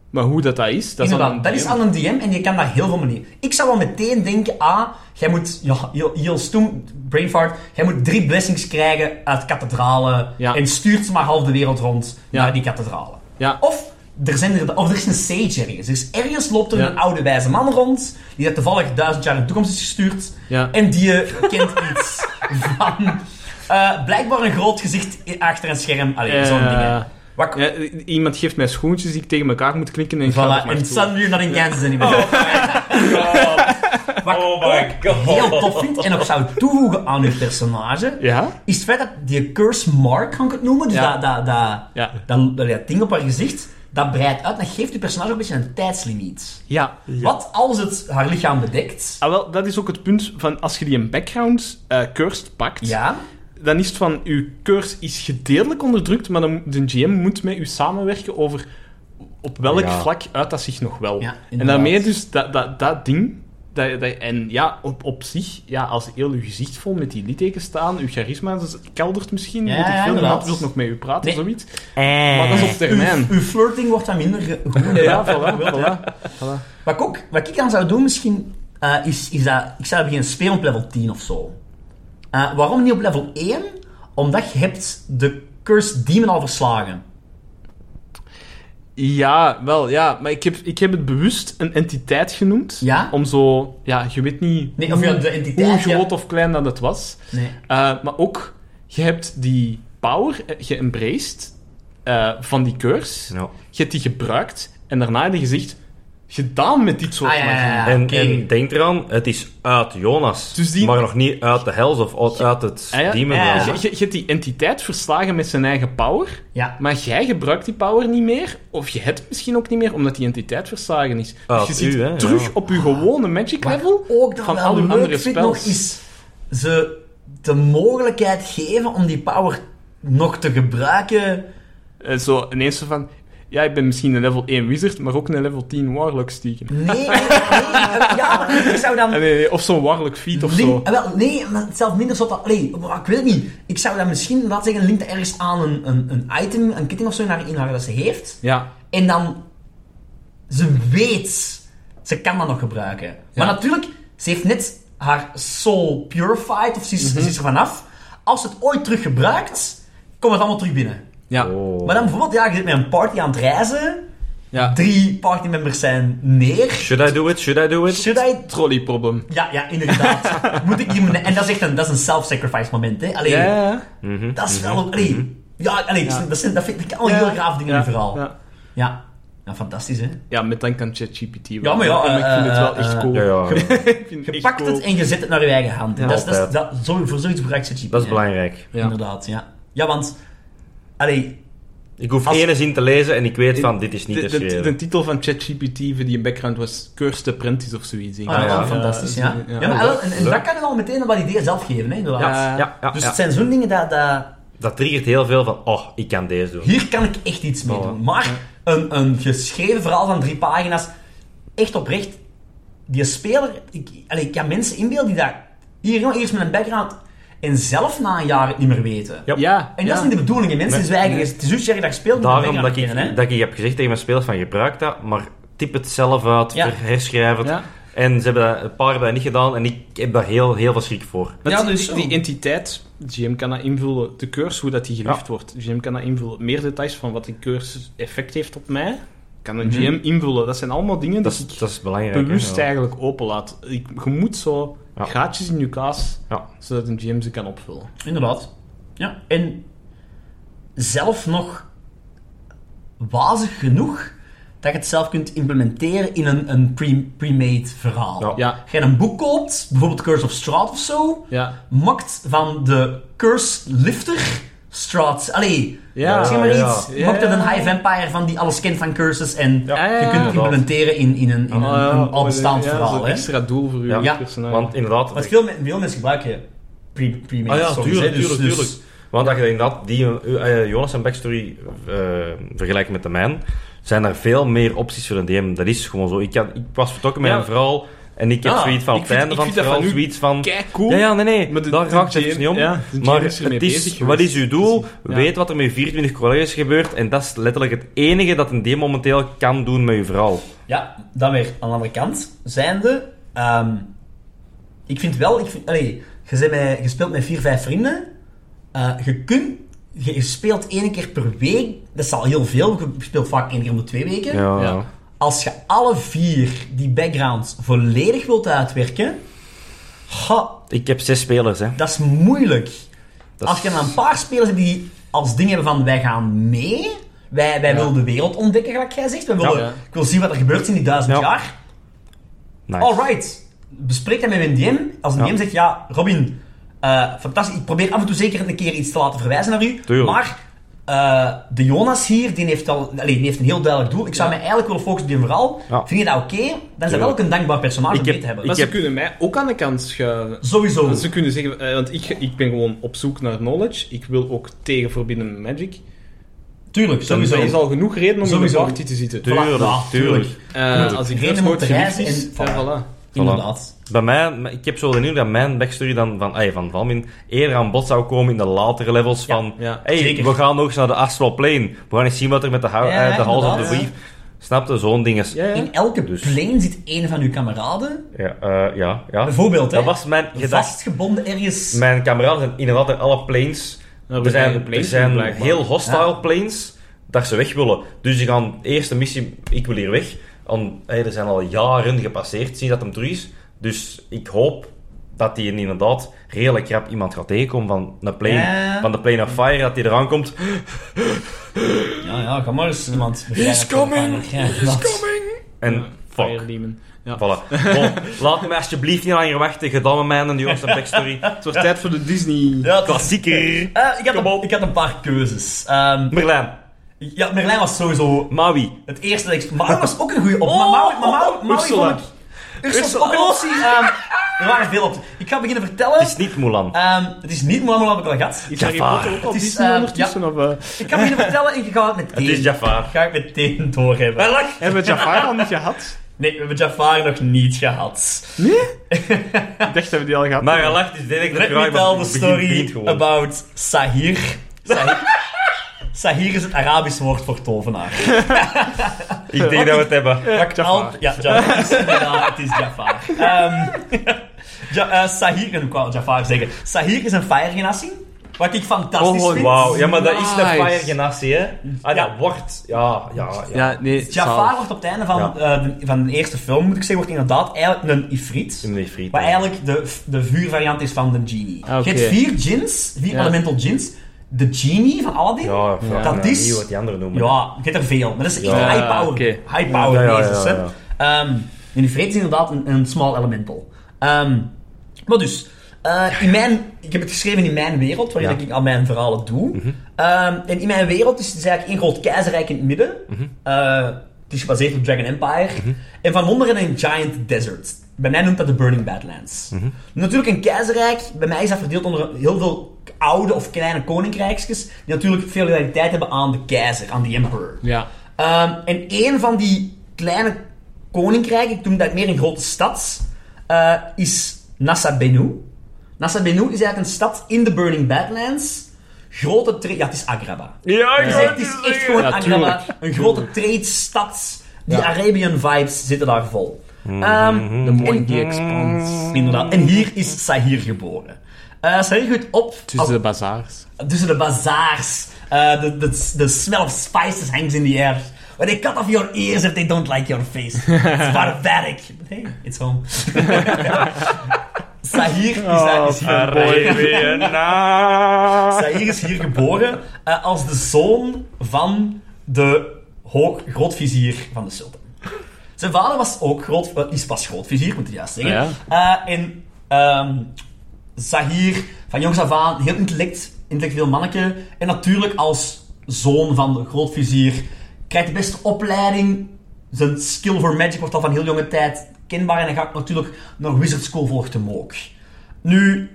C: maar hoe dat, dat is, dat is aan
B: Inderdaad,
C: een
B: dat is
C: DM.
B: aan een DM en je kan dat heel veel manieren. Ik zou wel meteen denken, ah, jij moet, ja, heel, heel stoem, brainfart, jij moet drie blessings krijgen uit kathedralen
C: Ja.
B: en stuurt ze maar half de wereld rond
C: Ja.
B: naar die kathedralen.
C: Ja.
B: Of er, zijn er, of er is een sage ergens. Er is ergens loopt er
C: Ja.
B: een oude wijze man rond, die dat toevallig duizend jaar in de toekomst is gestuurd,
C: Ja.
B: en die eh, kent iets van... eh, blijkbaar een groot gezicht achter een scherm. Allee, zo'n
C: Eh,
B: ding. Wat,
C: Ja, i- iemand geeft mij schoentjes die ik tegen elkaar moet klikken en ik ga er
B: Voilà,
C: maar
B: en
C: toe.
B: suddenly you're not in Kansas anymore. Oh my god. Wat
D: Oh my
B: ik
D: god.
B: heel tof vind en ook zou toevoegen aan uw personage,
C: Ja?
B: is het feit dat die curse mark, kan ik het noemen, dus
C: Ja.
B: dat, dat, dat,
C: Ja.
B: dat, dat, dat ding op haar gezicht, dat breidt uit en dat geeft uw personage ook een beetje een tijdslimiet.
C: Ja.
B: Wat als het haar lichaam bedekt,
C: Ah, wel, dat is ook het punt van als je die een background eh cursed pakt,
B: ja,
C: dan is het van, uw curse is gedeeltelijk onderdrukt, maar dan, de GM moet met u samenwerken over op welk
A: Ja.
C: vlak uit dat zich nog wel.
B: Ja,
C: en
B: inderdaad.
C: daarmee dus dat, dat, dat ding, dat, dat, en ja, op, op zich, ja, als heel uw gezicht vol met die littekens staan, uw charisma dus, keldert misschien,
B: Ja,
C: weet ik
B: ja,
C: veel,
B: inderdaad.
C: niemand wil nog met u praten,
B: Nee.
C: zoiets.
B: Eh.
C: Maar dat is op termijn.
B: uw, uw flirting wordt dan minder ge- goed.
C: Ja, voilà, voilà.
B: Wat ik, ook, wat ik dan zou doen misschien, eh, is, is dat ik zou beginnen spelen op level 10 of zo. Eh, waarom niet op level 1? Omdat je hebt de Cursed Demon al verslagen.
C: Ja, wel, ja. Maar ik heb, ik heb het bewust een entiteit genoemd.
B: Ja?
C: Om zo... Ja, je weet niet
B: Nee, of ja, de entiteit,
C: hoe
B: ja.
C: groot of klein dat het was.
B: Nee.
C: Eh, maar ook, je hebt die power eh, geëmbraced eh, van die curse.
A: Ja.
C: Je hebt die gebruikt. En daarna heb je gezegd... gedaan met dit soort
B: Ah, ja, ja, ja.
C: magie.
A: en,
B: oké.
A: en denk eraan, het is uit Jonas.
C: Dus die-
A: Maar nog niet uit de Hells of uit- uit het
C: Ah, ja.
A: Demon
B: Ja,
A: Realm.
C: Je, je- je hebt die entiteit verslagen met zijn eigen power,
B: Ja.
C: maar jij gebruikt die power niet meer, of je hebt het misschien ook niet meer, omdat die entiteit verslagen is.
A: Ah,
C: dus je zit
A: u, hè,
C: terug
A: ja.
C: op je gewone magic
B: Wat
C: level.
B: ik ook dat
C: van
B: wel
C: al uw
B: leuk
C: andere
B: vind
C: spels.
B: nog is ze de mogelijkheid geven om die power nog te gebruiken.
C: Eh, zo ineens zo van, ja, ik ben misschien een level 1 wizard, maar ook een level 10 warlock stiekem.
B: Nee, nee, nee. Ja, maar ik zou dan...
C: Ah, nee, nee, of zo'n warlock feat of
B: Link-
C: zo.
B: Ah, wel, nee, maar zelf minder zot dan... Allee, maar ik weet het niet. Ik zou dat misschien, laat zeggen, linkt ergens aan een, een, een item, een ketting of zo, naar in haar dat ze heeft.
C: Ja,
B: En dan... Ze weet... Ze kan dat nog gebruiken. Maar natuurlijk, ze heeft net haar soul purified, of ze is,
C: Mhm.
B: ze is er vanaf. Als ze het ooit terug gebruikt, komt het allemaal terug binnen.
C: ja,
A: Oh.
B: Maar dan bijvoorbeeld, ja, je zit met een party aan het reizen.
C: ja.
B: Drie partymembers zijn neer.
A: Should I do it? Should I do it?
B: Should I
C: Trolleyprobleem.
B: Ja, ja, inderdaad. Moet ik hier mijn- En dat is echt een, dat is een self-sacrifice moment, hè. Allee,
C: Ja, ja, ja.
B: dat is wel... Allee, Ja, allee,
C: Ja.
B: Dat, zijn, dat vind ik allemaal heel graaf dingen in
C: ja,
B: het verhaal. Ja.
C: Ja.
B: ja. fantastisch, hè.
C: ja, met dank aan ChatGPT. wel.
B: Ja, maar ja,
C: ik vind het wel
B: eh, eh,
C: echt cool.
A: Ja, ja.
C: Ik vind het
B: Je
C: echt
B: pakt
C: cool.
B: het en je zet het naar je eigen hand.
C: Ja,
B: dat is, dat is,
A: altijd.
B: dat, zo, voor zoiets gebruikt ze cheap.
A: Dat is belangrijk.
C: Ja.
B: Inderdaad, ja. Ja, want... Allee,
A: Ik hoef
B: Als-
A: één zin te lezen en ik weet van, dit is niet
C: De,
A: te
C: de,
A: schrijven.
C: de titel van ChatGPT voor die background was Cursed Apprentice of zoiets. denk ik.
B: ah,
A: ja.
B: wel fantastisch, ja.
C: zo-
B: Ja, maar wel, en, en dat kan je al meteen wat ideeën zelf geven, hè, inderdaad.
C: Ja.
A: ja, ja,
B: Dus
A: ja.
B: het zijn zo'n dingen dat... dat
A: Dat triggert heel veel van, oh, ik kan deze doen.
B: Hier kan ik echt iets mee doen. Maar een, een geschreven verhaal van drie pagina's, echt oprecht. Die speler, ik, allee, ik kan mensen inbeelden die daar hier, jongen, hier is met een background en zelf na een jaar het niet meer weten.
A: Ja.
C: Ja,
B: En dat
C: ja.
B: is niet de bedoeling, hè. mensen
A: Nee.
B: zwijgen. Het is juist dat je daar speelt met een
A: Daarom dat
B: background
A: ik,
B: kennen, hè.
A: dat ik heb gezegd tegen mijn spelers van, gebruik dat, maar typ het zelf uit,
B: Ja.
A: herschrijf het.
C: Ja.
A: En ze hebben dat, een paar hebben dat niet gedaan en ik heb daar heel, heel veel schrik voor.
C: Want
B: Ja,
C: die-
B: dus-
C: die, entiteit, GM kan dat invullen, de curse, hoe dat die geliefd wordt. GM kan dat invullen. Meer details van wat die curse effect heeft op mij, kan een GM invullen. Dat zijn allemaal dingen
A: Mhm. Dat
C: die
A: is,
C: ik
A: dat is belangrijk. hè,
C: bewust
A: ja.
C: eigenlijk openlaat. Ik, je moet zo
A: Ja.
C: gaatjes in je kaas,
A: Ja.
C: zodat een GM ze kan opvullen.
B: Inderdaad. Ja. En zelf nog wazig genoeg dat je het zelf kunt implementeren in een, een pre- pre-made verhaal.
A: Ja.
C: Ja,
B: Als je een boek koopt, bijvoorbeeld Curse of Strahd of zo,
C: ja.
B: maakt van de Curse Lifter Strahd. Allee,
C: Ja,
B: zeg maar
A: ja.
B: iets.
C: Ja.
B: Maakt er een High Vampire van die alles kent van curses en
A: Ja.
C: Ah, ja,
B: je kunt het
C: ja.
B: implementeren in, in een, in een, een al bestaand
C: Eh, oh, ja,
B: verhaal.
C: zo'n
B: hè.
C: extra doel voor je
A: Ja.
B: Ja,
C: personage.
A: Want inderdaad...
B: Want veel, men- veel mensen gebruiken pre- pre-made
A: Ah ja,
B: songs,
A: tuurlijk,
B: hè, dus-
A: tuurlijk,
B: dus-
A: tuurlijk. Want als je inderdaad die, eh, eh, Jonas' en backstory eh, vergelijkt met de mijn, zijn er veel meer opties voor een DM. Dat is gewoon zo. Ik, had, ik was vertrokken met
C: Ja.
A: een verhaal en ik heb
C: Ah,
A: zoiets van
C: ik
A: op het
C: vind-
A: einde
C: ik
A: van het
C: vind dat
A: verhaal
C: van u
A: zoiets van...
C: Kijk, cool.
A: Ja, ja, nee, nee,
C: Maar de-
A: daar
C: de
A: gaat het even
C: GM
A: niet om.
C: ja, de
A: maar
C: GM is ermee
A: het is,
C: bezig
A: wat is
C: geweest.
A: uw doel?
C: Ja.
A: Weet wat er met je 24 collega's gebeurt. En dat is letterlijk het enige dat een DM momenteel kan doen met je verhaal.
B: Ja, dan weer aan de andere kant zijnde. ehm, ik vind wel, ik vind, allee, je, bent met, je speelt met vier, vijf vrienden. Eh, je kunt, je je speelt één keer per week. Dat is al heel veel. Je speelt vaak één keer om de twee weken.
A: Ja.
C: Ja.
B: Als je alle vier die backgrounds volledig wilt uitwerken, ha,
A: Ik heb zes spelers, hè.
B: dat is moeilijk.
A: Dat
B: Als je dan een paar spelers hebt die als ding hebben van wij gaan mee, wij, wij willen de wereld ontdekken, gelijk jij zegt. Wij willen,
C: Ja.
B: Ik wil zien wat er gebeurt in die duizend
A: Ja.
B: jaar.
A: Nice.
B: Alright. Bespreek dat met een DM. Als een
A: Ja.
B: DM zegt, ja, Robin, eh, fantastisch. Ik probeer af en toe zeker een keer iets te laten verwijzen naar u.
A: Tuurlijk.
B: Maar eh, de Jonas hier, die heeft, al, allee, die heeft een heel duidelijk doel. Ik zou mij eigenlijk willen focussen op die verhaal.
A: Ja.
B: Vind je dat oké? Dan zijn we
A: Tuurlijk.
B: ook een dankbaar personage
A: Ik
B: om
A: heb-
B: mee te hebben.
A: ik-
C: Maar ze
A: heb-
C: kunnen mij ook aan de kant schuiven.
B: Sowieso.
C: Want ze kunnen zeggen, eh, want ik, ik ben gewoon op zoek naar knowledge. Ik wil ook tegen verbinden met magic.
B: Tuurlijk,
C: Dus
B: sowieso.
C: er is al genoeg reden om
B: Sowieso.
C: in de party te zitten.
A: Tuurlijk,
B: Ja, tuurlijk.
A: tuurlijk.
C: Eh, als ik
B: Reden
C: eerst
B: om
C: nooit
B: te
C: geliefd
B: reizen
C: is,
B: en-
C: ja, voilà.
B: Inderdaad.
A: Bij mij, m- ik heb zo de indruk dat mijn backstory dan van, ey, van Valmin eerder aan bod zou komen in de latere levels
B: Ja,
A: van,
C: ja,
A: hey,
B: zeker.
A: we gaan nog eens naar de Astral Plane. We gaan eens zien wat er met de, hou-
B: Ja,
A: eh, de House of the
B: inderdaad, ja.
A: Weave. Snap je? Zo'n ding is.
C: Ja, ja.
B: In elke
A: Dus-
B: plane zit een van uw kameraden.
A: Ja, eh, ja, ja.
B: Bijvoorbeeld, hè.
A: Dat was mijn gedachte.
B: Vastgebonden ergens.
A: Mijn kameraden zijn inderdaad in alle planes.
C: Nou,
A: er
C: we
A: zijn,
C: zijn planes
A: er zijn
C: blijkbaar.
A: heel hostile
B: Ja.
A: planes dat ze weg willen. Dus ze gaan eerste missie, ik wil hier weg. En, hey, er zijn al jaren gepasseerd sinds dat hem terug is. Dus ik hoop dat hij inderdaad redelijk rap iemand gaat tegenkomen van, een plane,
B: Ja.
A: van de Plane of Fire, dat hij eraan komt.
B: Ja, ja, ga maar eens iemand...
C: He's coming!
B: Ja, inderdaad.
A: En
C: Fire Demon. Ja.
A: Voilà. Bon, laat me alsjeblieft niet langer wachten. Gedaan met mij en de jongste backstory.
C: Het wordt tijd voor de Disney.
B: Ja, het is-
A: Klassieker.
B: Eh, ik, had
A: Kom
B: een,
A: op.
B: ik had een paar keuzes. Ehm,
A: Merlijn.
B: ja, Merlijn was sowieso
A: Maui.
B: het eerste dat ik... Maui was ook een goede op. Maar Maui, maar Maui, Oh, Maui
C: Oh, Ursula.
B: vond ik- Ursula was ook een optie. Ehm, er waren veel opties. Ik ga beginnen vertellen.
A: Het is niet Mulan.
B: Ehm, het is niet Mulan, heb ik al gehad.
C: Is Harry
A: Jafar.
C: Potter ook al
B: Het is,
C: Disney
B: eh,
C: ondertussen? Of, eh,
B: Ik kan beginnen vertellen en je gaat het meteen...
A: Het is Jafar.
B: Ga ik meteen doorhebben.
C: Hebben we Jafar al niet gehad?
B: Nee, we hebben Jafar nog niet gehad.
C: Nee? ik dacht dat we die al gehad
A: Maar je
C: hadden.
A: lacht is direct
B: Let me tell the story about Sahir. Sahir. Sahir is het Arabisch woord voor tovenaar.
A: Ik denk dat we het hebben.
C: Eh, Jafar.
B: Ja, Jafar. Het is inderdaad- Het is Jafar. Ehm, ja, eh, Sahir, en ik wou Jafar zeggen. Sahir is een fire-genassie. Wat ik fantastisch
C: Oh,
B: vind.
A: Wauw. Ja, maar dat is de
C: Nice.
A: Fire Genassie, hè? Ah,
B: Ja.
A: dat wordt. Ja, ja, ja.
C: Ja, nee.
B: Jafar
C: zalig.
B: wordt op het einde van,
A: Ja.
B: eh, de, van de eerste film, moet ik zeggen, wordt inderdaad eigenlijk een ifrit.
A: In de friet.
B: Wat eigenlijk de, de vuurvariant is van de genie.
C: Ah, oké.
B: Je hebt vier djinns, vier
C: Ja.
B: elemental djinns. De genie van Aladdin. Ja,
A: Ja,
C: Ja.
A: ja.
B: Dat is-
A: Niet wat die anderen noemen.
B: je hebt er veel. Maar dat is echt
A: Ja,
B: high power.
C: oké.
B: High power
A: Ja, ja,
B: wezens,
A: ja,
B: hè. Ehm, en die vreet is inderdaad een, een small elemental. Ehm, maar dus, eh, in mijn, ik heb het geschreven in mijn wereld, waarin
A: Ja.
B: ik al mijn verhalen doe. Ehm, en in mijn wereld is het eigenlijk één groot keizerrijk in het midden. Eh, het is gebaseerd op Dragon Empire. En van onderen een giant desert. Bij mij noemt dat de Burning Badlands. Natuurlijk een keizerrijk, bij mij is dat verdeeld onder heel veel oude of kleine koninkrijkjes, die natuurlijk veel loyaliteit hebben aan de keizer, aan de emperor.
C: Ja.
B: Ehm, en een van die kleine koninkrijken, ik noem dat meer een grote stad, eh, is Nassa Benu. Nassa Benu is eigenlijk een stad in de Burning Badlands. Grote trade... Ja, het is Agraba.
A: Ja,
B: Het is echt, Dus het is echt gewoon
C: Ja,
B: Agraba.
C: tuurlijk.
B: Een grote trade-stad. Die Arabian vibes zitten daar vol.
C: Mhm,
B: Ehm,
C: De
B: en-
C: Moinkie Expans.
B: Inderdaad. En hier is Sahir geboren. Eh Sahir groeit op... als-
C: Tussen de bazaars.
B: tussen de bazaars. Eh, de, de, de smell of spices hangs in the air. When they cut off your ears if they don't like your face. It's barbaric. But hey, it's home. Sahir is,
C: Oh,
B: daar- is hier geboren. Sahir is hier geboren eh, als de zoon van de hoog, grootvizier van de sultan. Zijn vader was ook groot, eh, is pas grootvizier, moet ik juist zeggen. Eh, en ehm, Zahir, van jongs af aan, heel intellect, intellectueel manneke. En natuurlijk als zoon van de grootvizier krijgt de beste opleiding. Zijn skill voor magic wordt al van heel jonge tijd kenbaar. En hij gaat natuurlijk naar Wizard School volgt hem ook. Nu,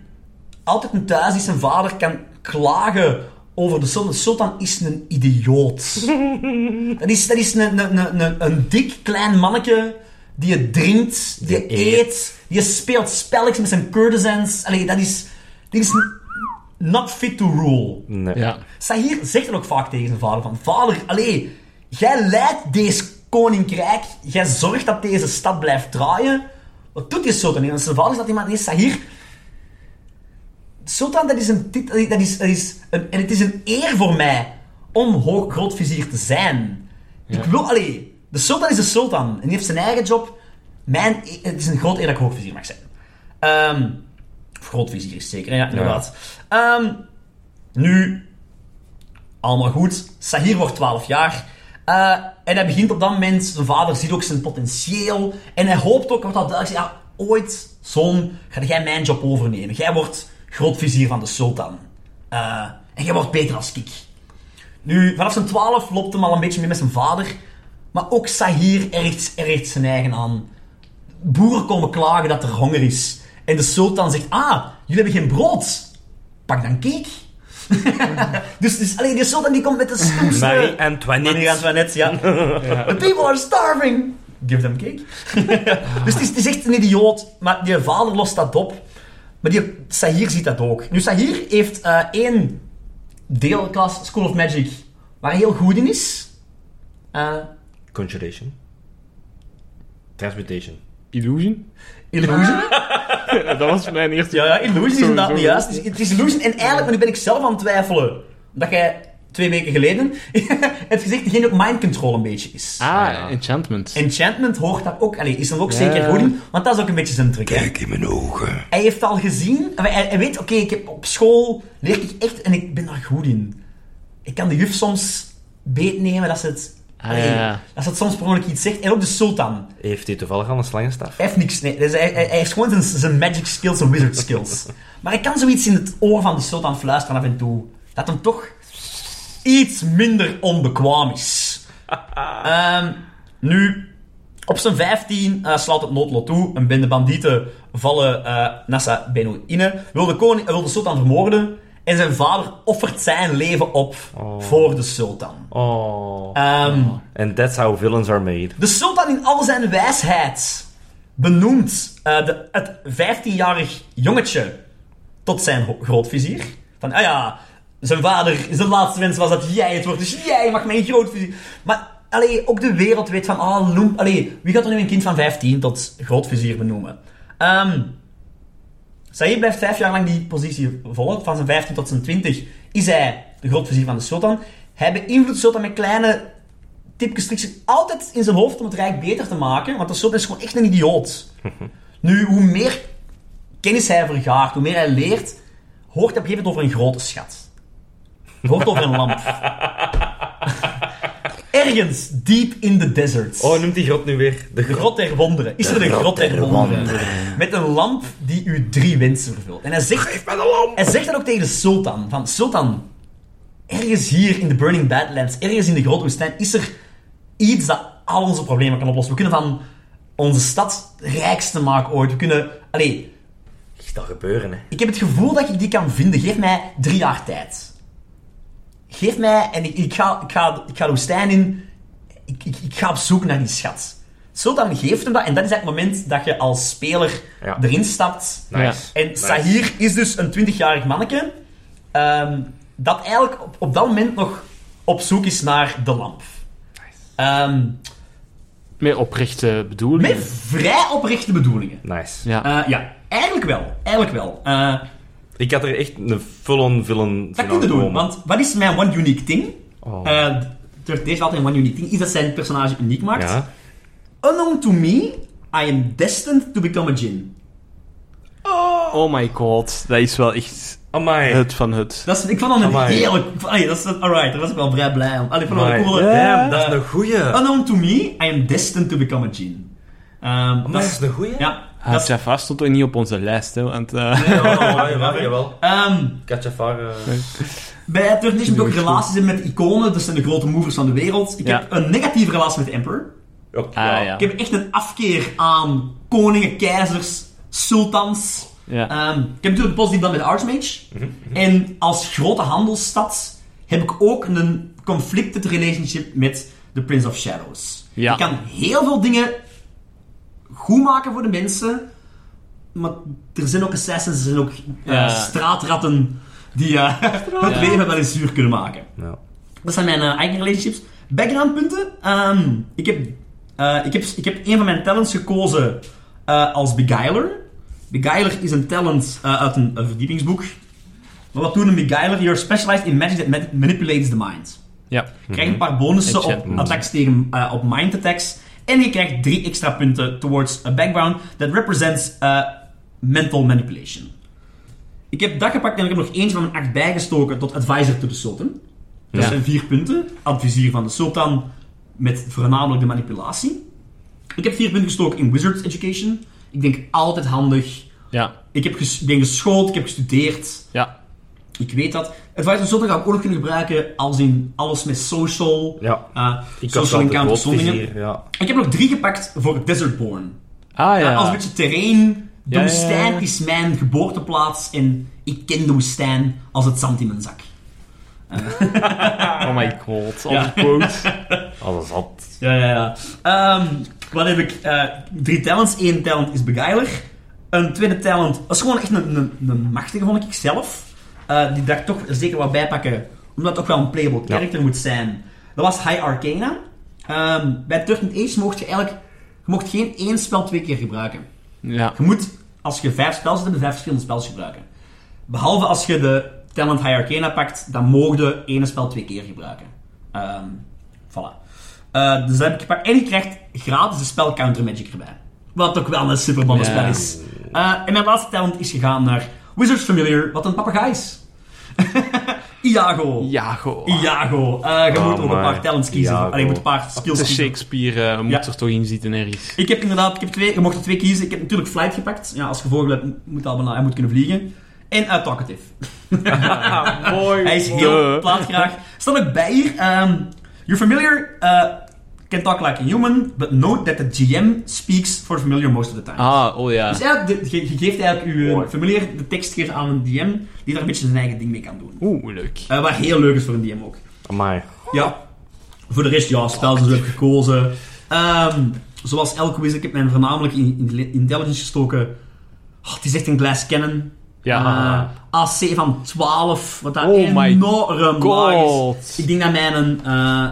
B: altijd een thuis is zijn vader kan klagen over de sultan. De sultan is een idioot. Dat is, dat is een, een, een, een, een dik klein manneke die je drinkt, die, je
A: eet.
B: eet, die je speelt spelletjes met zijn courtesans. Allee, dat is, dit is n- not fit to rule.
A: Nee.
C: Ja.
B: Sahir zegt er ook vaak tegen zijn vader van... Vader, allee, jij leidt deze koninkrijk. Jij zorgt dat deze stad blijft draaien. Wat doet die sultan? En zijn vader zegt iemand... Nee, Sahir... Sultan, dat is een titel... Dat is, dat is een, en het is een eer voor mij om hoog grootvizier te zijn. Ik wil... Allee, de sultan is de sultan. En die heeft zijn eigen job. Mijn, e- het is een groot eer dat ik hoogvizier mag zijn. Ehm, of grootvizier is het zeker, hè? ja, inderdaad. Ehm, nu, allemaal goed. Sahir wordt 12 jaar. Eh, en hij begint op dat moment, zijn vader ziet ook zijn potentieel. En hij hoopt ook, wordt al duidelijk, ja, ooit, zoon, ga jij mijn job overnemen. Jij wordt grootvizier van de sultan. Eh, en jij wordt beter als ik. Nu, vanaf zijn 12 loopt hem al een beetje mee met zijn vader. Maar ook Sahir ergt, ergt zijn eigen aan. Boeren komen klagen dat er honger is. En de sultan zegt, ah, jullie hebben geen brood. Pak dan cake. Dus, dus alleen die sultan die komt met de stoemste...
A: Marie Antoinette.
B: eh, Marie Antoinette, ja. The people are starving. Give them cake.
C: Ah.
B: dus het is, het is echt een idioot. Maar die vader lost dat op. Maar die Sahir ziet dat ook. Nu, Sahir heeft eh, één deelklas School of Magic waar hij heel goed in is. Eh,
A: Conjuration. Transmutation.
C: Illusion?
B: illusion.
C: dat was mijn eerste.
B: Ja, ja, illusion is
C: Sowieso.
B: inderdaad niet juist. Het is- Het is illusion. En eigenlijk, maar nu ben ik zelf aan het twijfelen. Omdat jij twee weken geleden hebt gezegd dat geen ook mind control een beetje is.
C: Ah,
A: Ja.
C: enchantment.
B: Enchantment hoort daar ook, allee, is er ook
C: Ja.
B: zeker goed in, want dat is ook een beetje zijn truc. Hè?
A: in mijn ogen.
B: Hij heeft al gezien, hij, hij- hij weet, oké, ik heb op school leer ik echt en ik ben daar goed in. Ik kan de juf soms beetnemen dat ze het
C: Ah, ja, ja.
B: Als dat soms per ongeluk iets zegt. En ook de sultan.
A: Heeft hij toevallig al een slangenstaf?
B: Hij heeft niks. Nee, dus hij, hij hij heeft gewoon zijn, zijn magic skills en wizard skills. Maar hij kan zoiets in het oor van die sultan fluisteren af en toe. Dat hem toch iets minder onbekwaam is. Ehm, nu, op zijn 15 eh, slaat het noodlot toe. Een bende bandieten vallen eh Nassa Beno inne. Wil de, koning, eh, wil de sultan vermoorden. En zijn vader offert zijn leven op voor de sultan.
A: Oh.
B: Ehm,
A: And that's how villains are made.
B: de sultan in al zijn wijsheid benoemt eh, de, het 15-jarig jongetje tot zijn ho- grootvizier. Van, ah ja, zijn vader, zijn laatste wens was dat jij het wordt, dus jij mag mijn grootvizier. Maar allee, ook de wereld weet van, ah, loem, allee, wie gaat er nu een kind van 15 tot grootvizier benoemen? Ehm Saïd blijft vijf jaar lang die positie volgen. Van zijn 15 tot zijn 20 is hij de grootvizier van de sultan. Hij beïnvloedt sultan met kleine tipjes, tricks altijd in zijn hoofd om het rijk beter te maken, want de sultan is gewoon echt een idioot. Nu, hoe meer kennis hij vergaart, hoe meer hij leert, hoort hij op een gegeven moment over een grote schat. Je Hoort over een lamp. Ergens, deep in the deserts.
A: Oh, noemt die grot nu weer. De grot.
B: Grot der Wonderen. Is er een Grot der Wonderen? Ah, Met een lamp die u drie wensen vervult. En hij zegt, hij zegt dat ook tegen de sultan. Van, sultan, ergens hier in de Burning Badlands, ergens in de Grote Woestijn, is er iets dat al onze problemen kan oplossen. We kunnen van onze stad de rijkste maken ooit. We kunnen... Allee,
A: Gaat dat gebeuren, hè?
B: ik heb het gevoel dat ik die kan vinden. Geef mij drie jaar tijd. Geef mij en ik, ik, ga, ik, ga, ik ga de woestijn in. Ik, ik, ik ga op zoek naar die schat. Sultan geeft hem dat en dat is het moment dat je als speler
A: Ja.
B: erin stapt.
A: Nice.
B: En
A: Nice.
B: Sahir is dus een 20-jarig manneke ehm, dat eigenlijk op, op dat moment nog op zoek is naar de lamp. Ehm,
C: Meer oprechte bedoelingen.
B: met vrij oprechte bedoelingen.
A: Nice.
C: Ja.
B: Eh, ja, eigenlijk wel. Eigenlijk wel. Eh,
A: Ik had er echt een full-on villain
B: Dat kun je doen, want wat is mijn one unique thing?
A: Oh.
B: Eh, door deze altijd een one unique thing is dat zijn personage uniek maakt.
A: Ja.
B: Unknown to me, I am destined to become a djinn.
C: Oh my god, dat is wel echt
A: Amai.
C: het van het.
B: Dat is, ik vond dat een
A: Amai.
B: heerlijk... Allee, dat is, alright, daar was ik wel vrij blij om. Allee, ik vond dat wel een
A: Amai.
B: coole...
C: Ja,
B: eh,
A: Dat is een goeie.
B: Unknown to me, I am destined to become a djinn. Ehm,
A: Amai,
B: dat
A: dat
B: is...
A: is Ah, een goeie.
B: Ja, dat is...
C: Hatjafar Ah, stond toch niet op onze lijst, hè? Want, eh,
A: Jawel, jawel, jawel, jawel.
B: Ehm,
A: Katjafar, eh,
B: bij Third Edition heb ik ook
C: Doe het
B: relaties in met iconen, dat zijn de grote movers van de wereld. Ik
C: Ja.
B: heb een negatieve relatie met de Emperor.
A: ook,
C: Ah,
A: ja.
C: ja.
B: Ik heb echt een afkeer aan koningen, keizers, sultans.
C: Ja.
B: Ehm, ik heb natuurlijk positief dan met de Archmage. En als grote handelsstad heb ik ook een conflicted relationship met de Prince of Shadows.
C: Ja.
B: Ik kan heel veel dingen goed maken voor de mensen, maar er zijn ook assassins, er zijn ook eh,
C: Ja.
B: straatratten die eh, het leven wel eens zuur kunnen maken.
A: Ja.
B: Dat zijn mijn eh, eigen relationships. Backgroundpunten. Ehm, ik, heb, eh, ik, heb, ik heb een van mijn talents gekozen eh, als Beguiler. Beguiler is een talent eh, uit een, een verdiepingsboek. Maar wat doet een Beguiler? You're specialized in magic that ma- manipulates the mind.
C: ja.
B: Je krijgt een paar bonussen op
C: Enchantment.
B: attacks tegen eh, op mind attacks. En je krijgt drie extra punten towards a background that represents eh, mental manipulation. Ik heb dat gepakt en ik heb nog eentje van mijn act bijgestoken tot advisor to the sultan. Dat
C: Ja.
B: zijn vier punten. Advizier van de sultan met voornamelijk de manipulatie. Ik heb vier punten gestoken in wizard education. Ik denk altijd handig.
C: Ja.
B: Ik heb ges- ik ben geschoold, ik heb gestudeerd.
C: Ja.
B: Ik weet dat. Advice on Sultan ga ik ook nog kunnen gebruiken als in alles met social.
A: Ja.
B: eh,
A: Ik was
B: social
A: altijd
B: encounter
A: grootvizier,
B: Groningen.
A: ja.
B: Ik heb nog drie gepakt voor Desertborn.
C: Ah ja.
B: Eh, Als een beetje terrein. De
C: Ja, ja,
B: woestijn
C: ja.
B: is mijn geboorteplaats en ik ken de woestijn als het zand in mijn zak.
C: Oh my god.
B: Ja.
C: Ja. quote.
A: Alles had.
B: Ja, ja, ja. Ehm, wat heb ik? Eh, drie talents. Eén talent is Beguiler. Een tweede talent dat is gewoon echt een, een, een machtige, vond ik zelf. Eh, die dacht toch zeker wat bijpakken, omdat het toch wel een playable character moet zijn. Dat was High Arcana. Ehm, bij Turgent Age mocht je eigenlijk je mocht geen één spel twee keer gebruiken.
C: Ja.
B: Je moet, als je vijf spels hebt, vijf verschillende spels gebruiken. Behalve als je de Talent High Arcana pakt, dan mogen je ene spel twee keer gebruiken. Ehm voilà. Eh, dus dat heb ik gepakt. En je krijgt gratis de spel Counter Magic erbij. Wat ook wel een superbolle
C: Ja.
B: spel is. Eh, en mijn laatste talent is gegaan naar Wizards Familiar, wat een papegaai is. Iago.
C: Iago.
B: Iago. Eh, je
A: Oh,
B: moet ook een
A: man.
B: paar talents kiezen.
A: Iago.
B: Allee, je moet een paar skills
C: De
B: kiezen.
C: Shakespeare eh, moet er toch in zitten ergens.
B: Ik heb inderdaad, ik heb twee, je mocht er twee kiezen. Ik heb natuurlijk Flight gepakt. Ja, als je vogel hebt, moet hij, bijna- hij moet kunnen vliegen. En uit Talkative.
C: mooi.
B: Hij is heel plaatgraag. Staat ook bij hier. ehm, you're familiar, uh, can talk like a human, but note that the GM speaks for familiar most of the time.
C: Ah, oh ja.
B: Dus eigenlijk, de- je je geeft eigenlijk uw eh, familiar de tekst geeft aan een DM, die daar een beetje zijn eigen ding mee kan doen.
C: Oeh, leuk.
B: Eh, wat heel leuk is voor een DM ook.
A: Amai.
B: Ja. Voor de rest, ja, spel ze heb gekozen. Ehm, zoals elke quiz, ik heb mijn voornamelijk in, in intelligence gestoken. Oh, het is echt een glass cannon.
C: Ja.
B: Eh, AC van 12, wat daar
C: Oh my
B: enorm laag is.
C: God.
B: Ik denk dat mijn, eh,